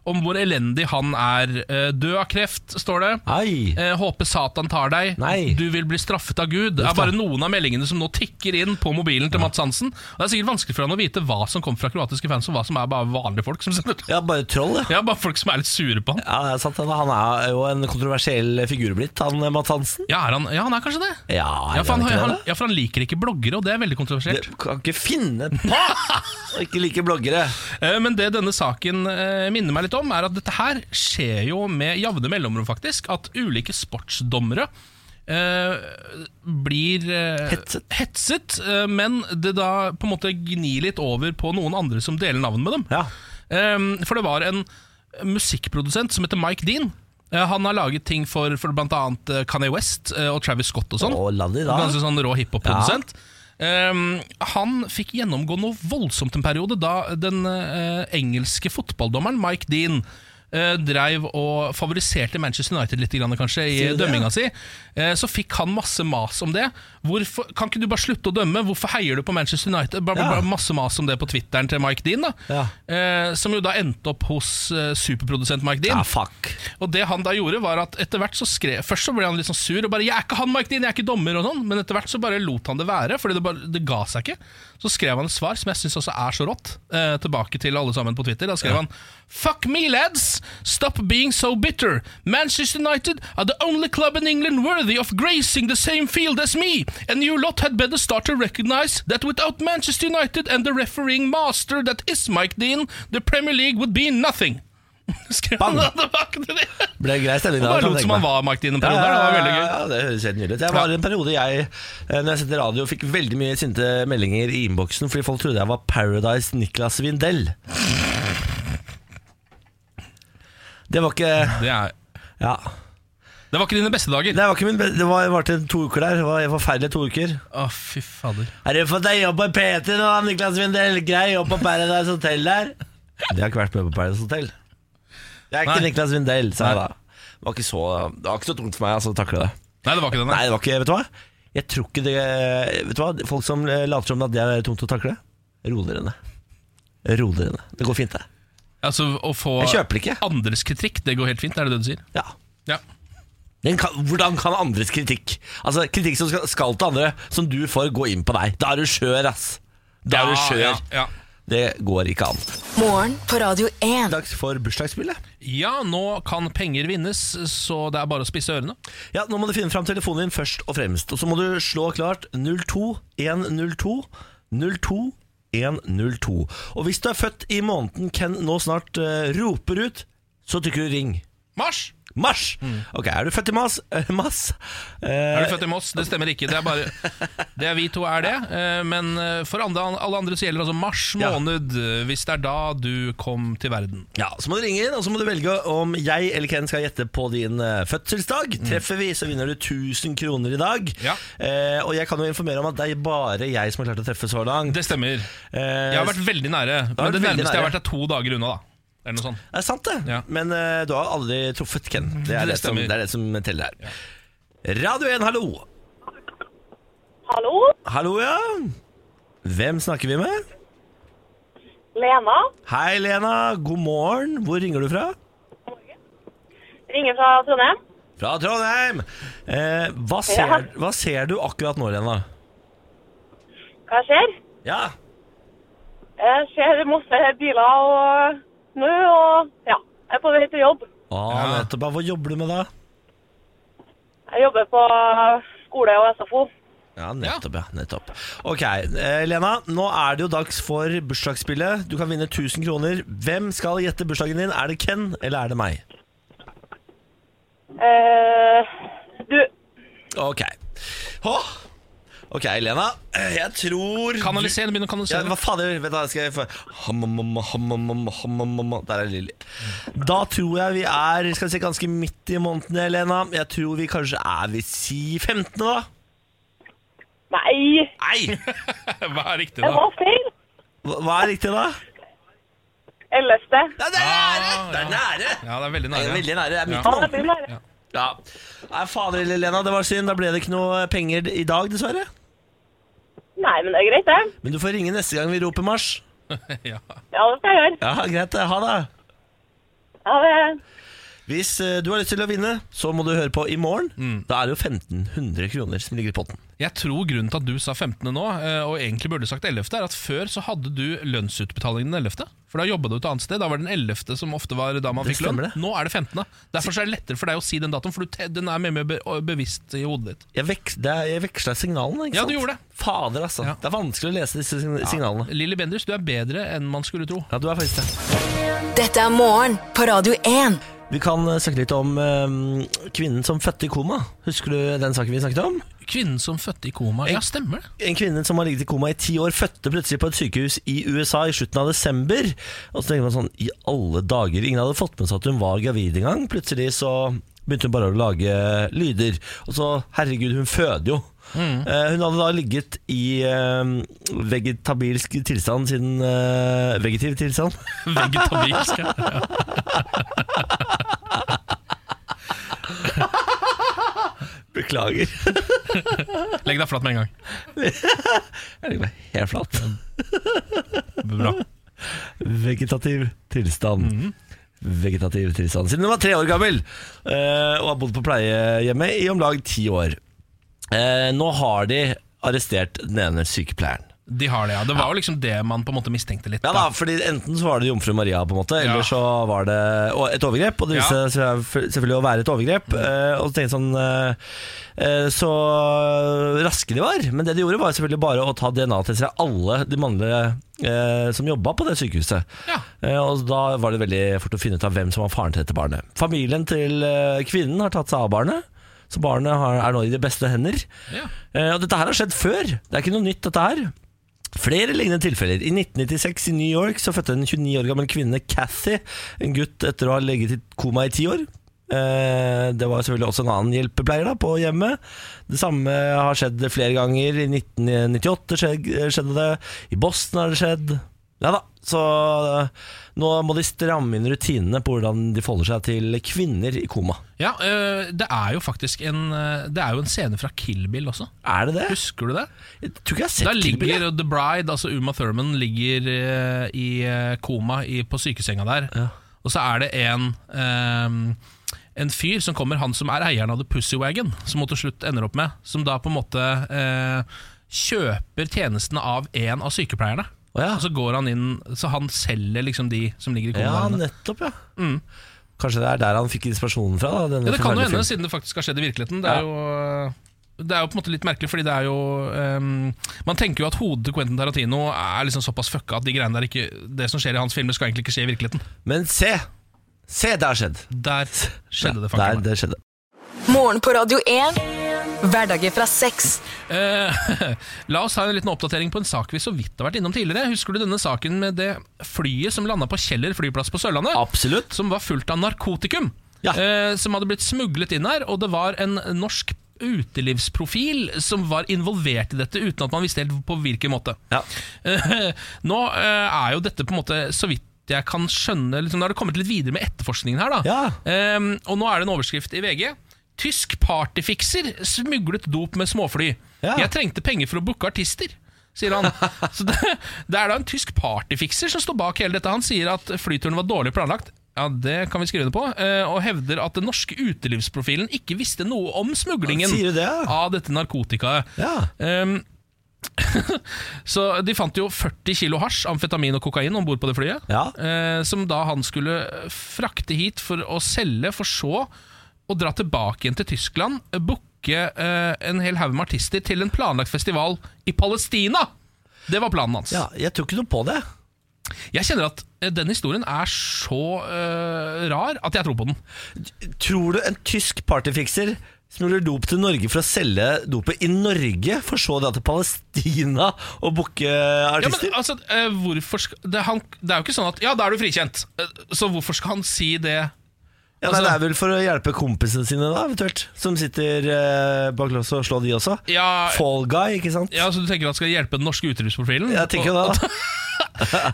B: om hvor elendig han er. Eh, Død av kreft, står det.
A: Ai.
B: Eh, håper Satan tar deg.
A: Nei.
B: Du vil bli straffet av Gud. Det
A: Uff da.
B: er bare noen av meldingene som nå tikker inn på mobilen til Mats Hansen. Og det er sikkert vanskelig for han å vite hva som kommer fra kroatiske fans, og hva som er bare vanlige folk som sender det.
A: Ja, bare troll, ja.
B: Ja, bare folk som er litt sure på han.
A: Ja, det er sant, han- Han er jo en kontroversiell figur blitt, han eh, Mads Hansen.
B: Ja, er han, ja, han er kanskje det.
A: Ja, er
B: Ja for, han,
A: ikke
B: han,
A: det?
B: ja, for han liker ikke bloggere, og det er veldig kontroversielt.
A: Det kan ikke finne på å ikke like bloggere.
B: Eh, Men det denne saken eh, minner meg litt om, er at dette her skjer jo med jevne mellomrom, faktisk. At ulike sportsdommere eh, blir eh,
A: Hetset.
B: hetset, eh, men det da på en måte gnir litt over på noen andre som deler navn med dem.
A: Ja.
B: Eh, for det var en musikkprodusent som heter Mike Dean. Eh, han har laget ting for, for bl.a. Kanye West eh, og Travis Scott og sånn.
A: Å, la de da.
B: Ganske sånn rå hiphop-produsent. Ehm, han fikk gjennomgå noe voldsomt en periode da den eh, engelske fotballdommeren Mike Dean eh, Dreiv og favoriserte Manchester United litt grann, kanskje, i
A: Sier du det?
B: dømminga si. Eh, Så fikk han masse mas om det. Hvorfor, kan ikke du bare slutte å dømme? Hvorfor heier du på Manchester United? Bare,
A: Ja.
B: bare masse mas om det på Twitteren til Mike Dean, da.
A: Ja.
B: Eh, Som jo da endte opp hos eh, superprodusent Mike Dean.
A: Ja, fuck.
B: Og det han da gjorde var at etter hvert så skrev Først så ble han litt sånn sur og bare 'Jeg er ikke han, Mike Dean, jeg er ikke dommer' og sånn. Men etter hvert så bare lot han det være, fordi det, bare, det ga seg ikke. Så skrev han et svar som jeg syns også er så rått, eh, tilbake til alle sammen på Twitter. Da skrev han 'Fuck me, lads! Stop being so bitter! Manchester United are the only club in England worthy of gracing the same field as me! And you lot had better start to recognize that without Manchester United and the refereeing master that is Mike Dean, the Premier League would be nothing'. Skrev han da tilbake til det?
A: Ble grei stemning da.
B: Han bare
A: kan
B: lot
A: jeg
B: som
A: tenke
B: han
A: meg.
B: var Mark Dean en
A: Ja,
B: periode. der, Det var veldig
A: ja,
B: gøy.
A: ja, det høres helt nydelig ut. Jeg var i en periode jeg, eh, når jeg sendte radio, fikk veldig mye sinte meldinger i innboksen fordi folk trodde jeg var Paradise Niklas Vindell. Det var ikke
B: Det, er,
A: Ja.
B: det var ikke dine beste dager.
A: Det var ikke min be- Det var, varte to uker der. Det var forferdelige to uker.
B: Å, fy fader.
A: Har du fått deg jobb på PT nå, Niklas Vindell? Grei jobb på Paradise Hotel der? De har ikke vært med på Paradise Hotel. Jeg er ikke
B: Nei.
A: Niklas Vindell, sa jeg da. Det var ikke så, det var ikke så tungt for meg altså, å takle det.
B: Nei, det var ikke det.
A: Nei,
B: Nei.
A: det var ikke Vet du hva? Jeg tror ikke det Vet du hva? Folk som eh, later som at det er tungt å takle, ro dere ned. Ro dere ned. Det går fint, det.
B: Altså, å få
A: Jeg kjøper det ikke.
B: andres kritikk, det går helt fint, er det det du sier?
A: Ja.
B: Ja.
A: Den kan, hvordan kan andres kritikk Altså Kritikk som skal, skal til andre, som du får, gå inn på deg? Da er du skjør, ass. Da er du skjør.
B: Ja, ja.
A: Det går ikke an.
C: Morgen på Radio 1.
A: Dags for bursdagsspillet.
B: ja, nå kan penger vinnes, så det er bare å spisse ørene.
A: Ja, Nå må du finne fram telefonen din først og fremst. Og så må du slå klart 02102. 02102. Og hvis du er født i måneden Ken nå snart eh, roper ut, så trykker du ring.
B: Mars!
A: Mars!
B: Mm.
A: Ok, er du født i Mas? eh, mas? Eh,
B: Er du født i Moss? Det stemmer ikke. Det er bare Det er vi to er det. eh, Men eh, for andre, alle andre så gjelder altså mars
A: Ja.
B: måned, eh, hvis det er da du kom til verden.
A: Ja, Så må du ringe inn, og så må du velge om jeg eller Ken skal gjette på din eh, fødselsdag. Treffer vi, så vinner du 1000 kroner i dag.
B: Mm. Ja.
A: Eh, og jeg kan jo informere om at det er bare jeg som har klart å treffe så langt.
B: Det stemmer.
A: Eh,
B: Jeg har vært veldig nære,
A: vært
B: men det
A: veldig
B: nærmeste jeg har
A: nære.
B: vært, er to dager unna, da. Eller noe sånt.
A: Det er sant, det.
B: Ja. Mm,
A: Men eh, du har aldri truffet Ken. Det er det,
B: Det
A: som,
B: stemmer.
A: det, er det som teller her. Radio 1, hallo.
F: Hallo,
A: Hallo, ja. Hvem snakker vi med?
F: Lena.
A: Hei, Lena. God morgen. Hvor ringer du fra?
F: Ringer fra Trondheim.
A: Fra Trondheim. Eh, hva, ser,
F: Ja.
A: hva ser du akkurat nå, Lena?
F: Hva skjer?
A: Ja.
F: Jeg ser masse biler og snø og ja, jeg er på vei til jobb.
A: Ah,
B: Ja.
A: nettopp. Hva jobber du med da?
F: Jeg jobber på skole og SFO.
A: Ja, nettopp, ja. nettopp. Ok, eh, Lena, nå er det jo dags for bursdagsspillet. Du kan vinne 1000 kroner. Hvem skal gjette bursdagen din? Er det Ken, eller er det meg?
F: Eh, du,
A: Ok. Åh. Ok, Lena. eh, Jeg tror
B: Kanalisere, begynne å
A: ja,
B: kanalisere.
A: Hva fader? Vet du, hva, skal jeg få Hammamamma, hammamamma, hammamamma. Der er Lilly. Da tror jeg vi er skal vi se, ganske midt i måneden, Lena. Jeg tror vi kanskje er ved si 15., da.
F: nei,
A: Nei!
B: Hva er riktig,
F: det
B: da?
F: var feil.
A: Hva hva er riktig, da? Ah,
F: Ellevte.
A: Ja, det er nære! Det er nære!
B: Ja, det er veldig
A: Det
B: nære.
A: er veldig nære. Det er midt i
F: Ja, det
A: måneden.
F: blir nære.
A: Ja. Nei, fader lille Lena, det var synd. Da ble det ikke noe penger i dag, dessverre.
F: Nei, men det er greit, det.
A: Men du får ringe neste gang vi roper marsj.
B: Ja.
F: Ja, det skal jeg gjøre.
A: Ja, greit. det. Ha det.
F: Ha det.
A: Hvis eh, du har lyst til å vinne, så må du høre på i morgen.
B: Mm.
A: Da er det jo 1500 kroner som ligger i potten.
B: Jeg tror grunnen til at du sa 15. nå, eh, og egentlig burde du sagt 11., er at før så hadde du lønnsutbetalingen den 11., for da jobba du et annet sted. Da var det den 11. som ofte var da man
A: Det
B: fikk lønn.
A: stemmer det.
B: Nå er det 15. Derfor så er det lettere for deg å si den datoen, for du te- den er mer og mer be og bevisst i hodet ditt.
A: Jeg, veks, det er, jeg veksla signalene, ikke
B: Ja,
A: sant?
B: du gjorde det.
A: Fader, altså.
B: Ja.
A: Det er vanskelig å lese disse sign- signalene.
B: Lilly Benders, du er bedre enn man skulle tro.
A: Ja, du er faktisk det.
C: Dette er morgen på Radio 1.
A: Vi kan eh, snakke litt om eh, kvinnen som fødte i koma. Husker du den saken vi snakket om?
B: Kvinnen som fødte i koma. Ja, stemmer det.
A: En kvinne som har ligget i koma i ti år, fødte plutselig på et sykehus i USA i slutten av desember. Og så tenkte man sånn, i alle dager, ingen hadde fått med seg at hun var gravid engang. Plutselig så begynte hun bare å lage lyder. Og så, herregud, hun føder jo. Eh, Hun hadde da ligget i eh, vegetabilsk tilstand siden eh, Vegetiv tilstand?
B: Vegetabilsk. ja.
A: Beklager.
B: Legg deg flatt med en gang.
A: Jeg ligger meg helt flatt.
B: Bra.
A: Vegetativ tilstand. Vegetativ tilstand Siden hun var tre år gammel eh, og har bodd på pleiehjemmet i om lag ti år. Eh, nå har de arrestert den ene sykepleieren.
B: De har det, ja. Det var jo liksom det man på en måte mistenkte litt.
A: Ja da, fordi Enten så var det jomfru Maria, på en måte eller
B: Ja.
A: så var det og et overgrep. Og det viste
B: Ja. Mm.
A: seg selvfø- selvfølgelig å være et overgrep. eh, Og så tenkte jeg sånn eh, eh, Så raske de var. Men det de gjorde, var selvfølgelig bare å ta DNA-tester av alle de mannlige eh, som jobba på det sykehuset.
B: Ja.
A: Eh, Og da var det veldig fort å finne ut av hvem som var faren til dette barnet. Familien til eh, kvinnen har tatt seg av barnet, så barnet har, er nå i de beste hender.
B: Ja.
A: Eh, Og dette her har skjedd før. Det er ikke noe nytt, dette her. Flere lignende tilfeller. I 1996 i New York så fødte en 29 år gammel kvinne, Cathy, en gutt etter å ha ligget i koma i ti år. Eh, Det var selvfølgelig også en annen hjelpepleier da, på hjemmet. Det samme har skjedd flere ganger. I 1998 skje- skjedde det. I Boston har det skjedd. Ja da, så eh, nå må de stramme inn rutinene på hvordan de forholder seg til kvinner i koma.
B: Ja, øh, det er jo faktisk en, øh, det er jo en scene fra Kill Bill også.
A: Er det det?
B: Husker du det?
A: Jeg tror ikke jeg har
B: Da
A: sett Kill Bill, jeg.
B: ligger The Bride, altså Uma Thurman, ligger øh, i øh, koma i, på sykesenga der. Og så er det en øhm, en fyr som kommer, han som er eieren av The Pussywagon, som hun til slutt ender opp med, som da på en måte øh, kjøper tjenestene av en av sykepleierne.
A: Å ja.
B: Og så går han inn, så han selger liksom de som ligger i koma.
A: Ja,
B: der inne.
A: nettopp, ja. Kanskje det er der han fikk inspirasjonen fra? Da, denne
B: Ja, det kan jo
A: forferdelige
B: hende,
A: filmen.
B: siden det faktisk har skjedd i virkeligheten. Det er,
A: Ja.
B: jo, det er jo på en måte litt merkelig, fordi det er jo ehm, Man tenker jo at hodet til Quentin Tarantino er liksom såpass fucka at de greiene der ikke, det som skjer i hans filmer, skal egentlig ikke skje i virkeligheten.
A: Men se! Se, det har skjedd!
B: Der skjedde det,
A: Der,
B: faktisk.
A: det skjedde.
C: Morgen på Radio 1. Hverdager fra seks.
B: Eh, la oss ha en liten oppdatering på en sak vi så vidt har vært innom tidligere. Husker du denne saken med det flyet som landa på Kjeller flyplass på Sørlandet?
A: Absolutt.
B: som var fullt av narkotikum.
A: Ja.
B: Eh, som hadde blitt smuglet inn her, og det var en norsk utelivsprofil som var involvert i dette, uten at man visste helt på hvilken måte.
A: Ja.
B: Eh, nå eh, er jo dette på en måte, så vidt jeg kan skjønne liksom, Da har det kommet litt videre med etterforskningen her. da
A: Ja.
B: Eh, Og nå er det en overskrift i VG. Tysk partyfikser smuglet dop med småfly.
A: Ja.
B: Jeg trengte penger for å booke artister. Sier han Så det, det er da en tysk partyfikser som står bak hele dette. Han sier at flyturen var dårlig planlagt. Ja, Det kan vi skrive under på. eh, Og hevder at den norske utelivsprofilen ikke visste noe om smuglingen
A: Sier du det, ja?
B: av dette narkotikaet.
A: Ja.
B: Ehm, så de fant jo 40 kilo hasj, amfetamin og kokain om bord på det flyet.
A: Ja.
B: eh, som da han skulle frakte hit for å selge, for så å dra tilbake igjen til Tyskland. Booke eh, en hel haug med artister til en planlagt festival i Palestina! Det var planen hans.
A: ja, jeg tror ikke noe på det.
B: Jeg kjenner at eh, den historien er så eh, rar at jeg tror på den.
A: Tror du en tysk partyfikser smugler dop til Norge for å selge dopet i Norge, for så å dra til Palestina og booke
B: Ja, men
A: artister?
B: altså, eh, hvorfor skal, det, han, det er jo ikke sånn at Ja, da er du frikjent. Eh, så hvorfor skal han si det?
A: Ja,
B: altså-
A: nei, det er vel for å hjelpe kompisene sine, da, eventuelt. Som sitter eh, bak lås og slår de også.
B: Ja,
A: Fall guy, ikke sant?
B: ja, så Du tenker at det skal hjelpe den norske utelivsprofilen?
A: Jeg tenker jo det, da.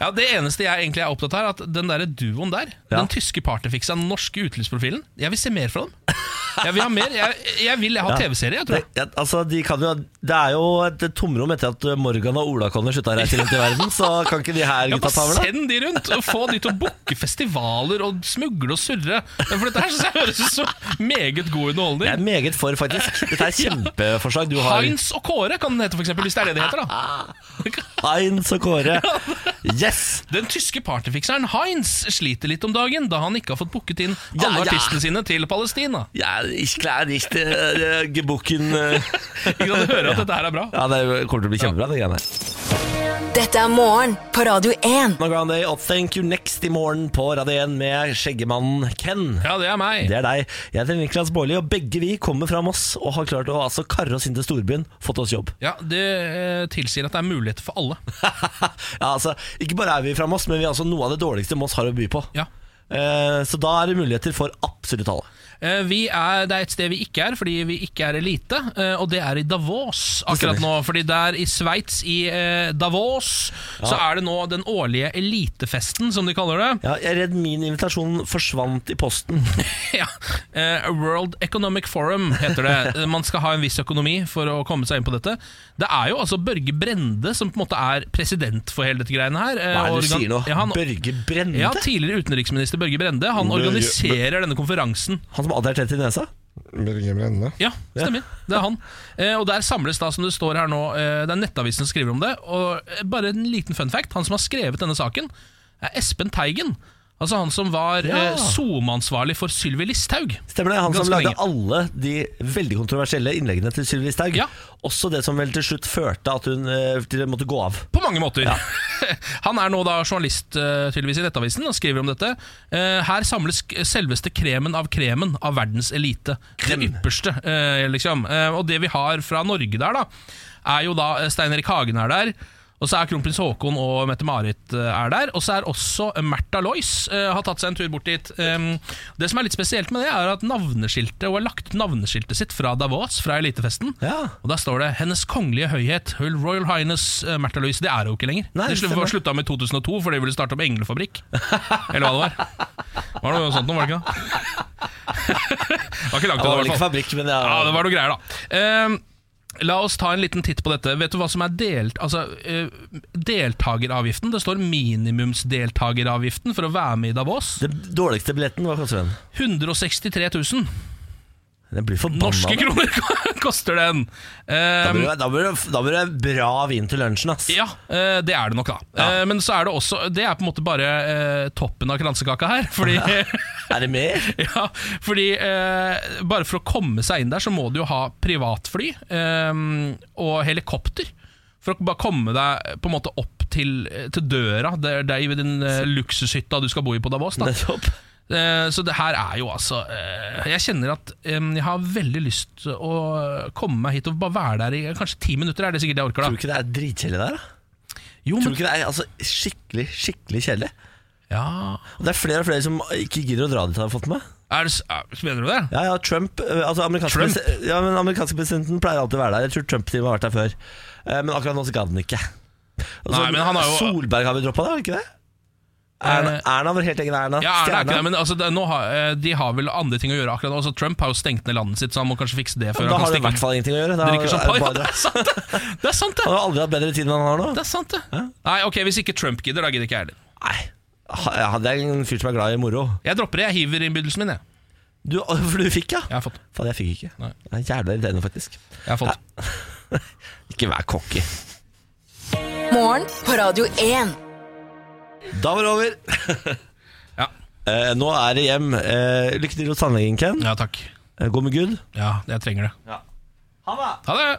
B: Ja, Det eneste jeg egentlig er opptatt av, er at den der duoen der,
A: Ja.
B: den tyske partyfiksa, den norske utelivsprofilen, jeg vil se mer fra dem. Jeg vil ha mer, jeg, jeg vil ha TV-serie, jeg tror jeg.
A: Ja, altså, de kan jo ha Det er jo et tomrom etter at Morgan og Ola-Conny slutta å reise rundt i verden, så kan ikke de her
B: Ja,
A: gutta
B: bare
A: ta over, da?
B: Send de rundt og få de til å booke festivaler og smugle og surre. For dette her synes jeg høres ut som meget
A: Jeg
B: god
A: er
B: underholdning.
A: meget for, faktisk. Dette er kjempeforslag du har.
B: Heinz og Kåre kan den hete, for eksempel, hvis det er det det heter. da
A: Heinz og Kåre. Yes!
B: Den tyske partyfikseren Heinz sliter litt om dagen, da han ikke har fått booket inn alle
A: Ja, ja.
B: artistene sine til Palestina.
A: Jeg er ikke klar, ikke eh, gebukken eh.
B: Ikke sant, Du hører at dette her er bra.
A: Ja, det kommer til å bli kjempebra, det greiene her.
C: Dette er morgen på Radio 1.
A: Nå Grande og Thank You Next i morgen på Radio 1 med skjeggemannen Ken.
B: Ja, det er meg.
A: Det er deg. Jeg heter Niklas Baarli, og begge vi kommer fra Moss og har klart å altså, karre oss inn til storbyen, fått oss jobb.
B: Ja, Det eh, tilsier at det er muligheter for alle.
A: ja, altså, ikke bare er vi fra Moss, men vi er altså noe av det dårligste Moss har å by på.
B: Ja
A: Eh, så da er det muligheter for absolutt alle.
B: Eh, Vi er, det er et sted vi ikke er, fordi vi ikke er elite, eh, og det er i Davos akkurat nå. Fordi der i Sveits, i eh, Davos, så er det nå den årlige elitefesten, som de kaller det.
A: Ja, jeg er redd min invitasjon forsvant i posten.
B: Ja. Eh, World Economic Forum heter det. Eh, Man skal ha en viss økonomi for å komme seg inn på dette. Det er jo altså Børge Brende som på en måte er president for hele dette greiene her. eh,
A: Hva er det du
B: organ-
A: sier nå?
B: Ja, han,
A: Børge Brende?
B: ja, tidligere utenriksminister Børge Brende. Han
A: Børge-
B: organiserer denne konferansen.
A: Han som alltid er tett i nesa?
B: Ja, stemmer. Det er han. Eh, og der samles da, som det står her nå, eh, det er Nettavisen som skriver om det. Og eh, bare en liten fun fact. Han som har skrevet denne saken, er Espen Teigen. Altså han som var
A: Ja.
B: eh, SoMe-ansvarlig for Sylvi Listhaug.
A: Stemmer det, Han som
B: Ganske
A: lagde
B: lenge.
A: alle de veldig kontroversielle innleggene til Sylvi Listhaug.
B: Ja.
A: Også det som vel til slutt førte at hun eh, til måtte gå av.
B: På mange måter. han er nå da journalist eh, tydeligvis i Nettavisen og skriver om dette. Eh, her samles k- selveste kremen av kremen av verdens elite. Det ypperste, eh, liksom. Eh, og det vi har fra Norge der, da, er jo da eh, Stein Erik Hagen er der. Og så er kronprins Haakon og Mette-Marit eh, er der. Og så er også Märtha Lois eh, har tatt seg en tur bort dit. Eh, det som er litt spesielt med det, er at navneskiltet Hun har lagt ut navneskiltet sitt fra Davos, fra elitefesten.
A: Ja.
B: Og der står det 'Hennes kongelige høyhet, Her Royal Highness eh, Märtha Louise'. Det er hun ikke lenger.
A: Nei,
B: det slutt,
A: stemmer.
B: var slutta med i 2002 fordi de ville starte opp englefabrikk. Eller hva det var. Var det noe sånt noe, var det ikke? det? det var ikke langt
A: Det
B: unna,
A: var vel
B: i hvert
A: ikke
B: fall.
A: fabrikk, men
B: Ja,
A: ja,
B: det var noe greier, da. Eh, la oss ta en liten titt på dette. Vet du hva som er delt, altså, eh, deltageravgiften? Det står minimumsdeltageravgiften for å være med i Davos.
A: Den dårligste billetten, hva koster den?
B: 163 000
A: Den blir forbanna.
B: norske
A: da.
B: kroner koster den.
A: Da
B: Eh,
A: blir det- Da blir det- da blir det bra vin til lunsjen, ass.
B: Ja, eh, det er det nok, da. Eh, Men så er det også Det er på en måte bare eh, toppen av kransekaka her. Fordi,
A: Er det mer?
B: ja, fordi eh, bare for å komme seg inn der, så må du jo ha privatfly eh, og helikopter. For å bare komme deg på en måte opp til, til døra, der, der i den eh, luksushytta du skal bo i på Davos. da
A: Nettopp.
B: Eh, Så det her er jo altså eh, Jeg kjenner at eh, jeg har veldig lyst til å komme meg hit og bare være der i eh, kanskje ti minutter. er det sikkert jeg orker
A: Tror du
B: da
A: ikke det er dritkjedelig der, da?
B: Jo,
A: Tror
B: men
A: du ikke det er altså, skikkelig, skikkelig kjedelig?
B: ja.
A: Og det er flere og flere som ikke gidder å dra dit, har jeg fått med.
B: Er det, s- er, mener du det?
A: Ja, ja, Trump eh, altså amerikanske,
B: Trump?
A: presi- Ja, men amerikanske presidenten pleier alltid å være der. Jeg tror Trump til og med har vært der før. Eh, Men akkurat nå så gadd han ikke. Og så-
B: Nei, men han har jo-
A: Solberg har vi droppa, da? har vi Ikke det? Erna,
B: Eh,
A: Erna var helt egen Erna.
B: Ja, er det
A: Stjerna.
B: ikke det? Men altså, det, nå har, eh, de har vel andre ting å gjøre akkurat nå. Altså, Trump har jo stengt ned landet sitt, så han må kanskje fikse det før
A: da
B: han
A: har det
B: kan
A: i
B: stikke
A: hvert fall ingenting å gjøre. Da
B: drikke
A: er det
B: champagne. Ja,
A: bare-
B: det er sant, det! Det er
A: Han
B: sant, det!
A: har aldri hatt bedre tid enn han har nå.
B: Det er sant, det. Nei, ok, Hvis ikke Trump gidder, da gidder ikke jeg heller.
A: Nei, Ha- ja, Det er en fyr som er glad i moro.
B: Jeg dropper det. Jeg hiver innbydelsen min, jeg.
A: Du, for du fikk, ja?
B: Jeg har fått.
A: Faen, jeg fikk ikke.
B: Nei.
A: Det er jævla irriterende, faktisk.
B: Jeg har fått.
A: Ikke vær cocky.
C: Morgen på Radio 1.
A: Da var det over.
B: Ja.
A: Eh, nå er det hjem. Eh, lykke til hos tannlegen, Ken.
B: ja, takk.
A: Eh, Gå med Gud.
B: Ja, jeg trenger det. Ha det!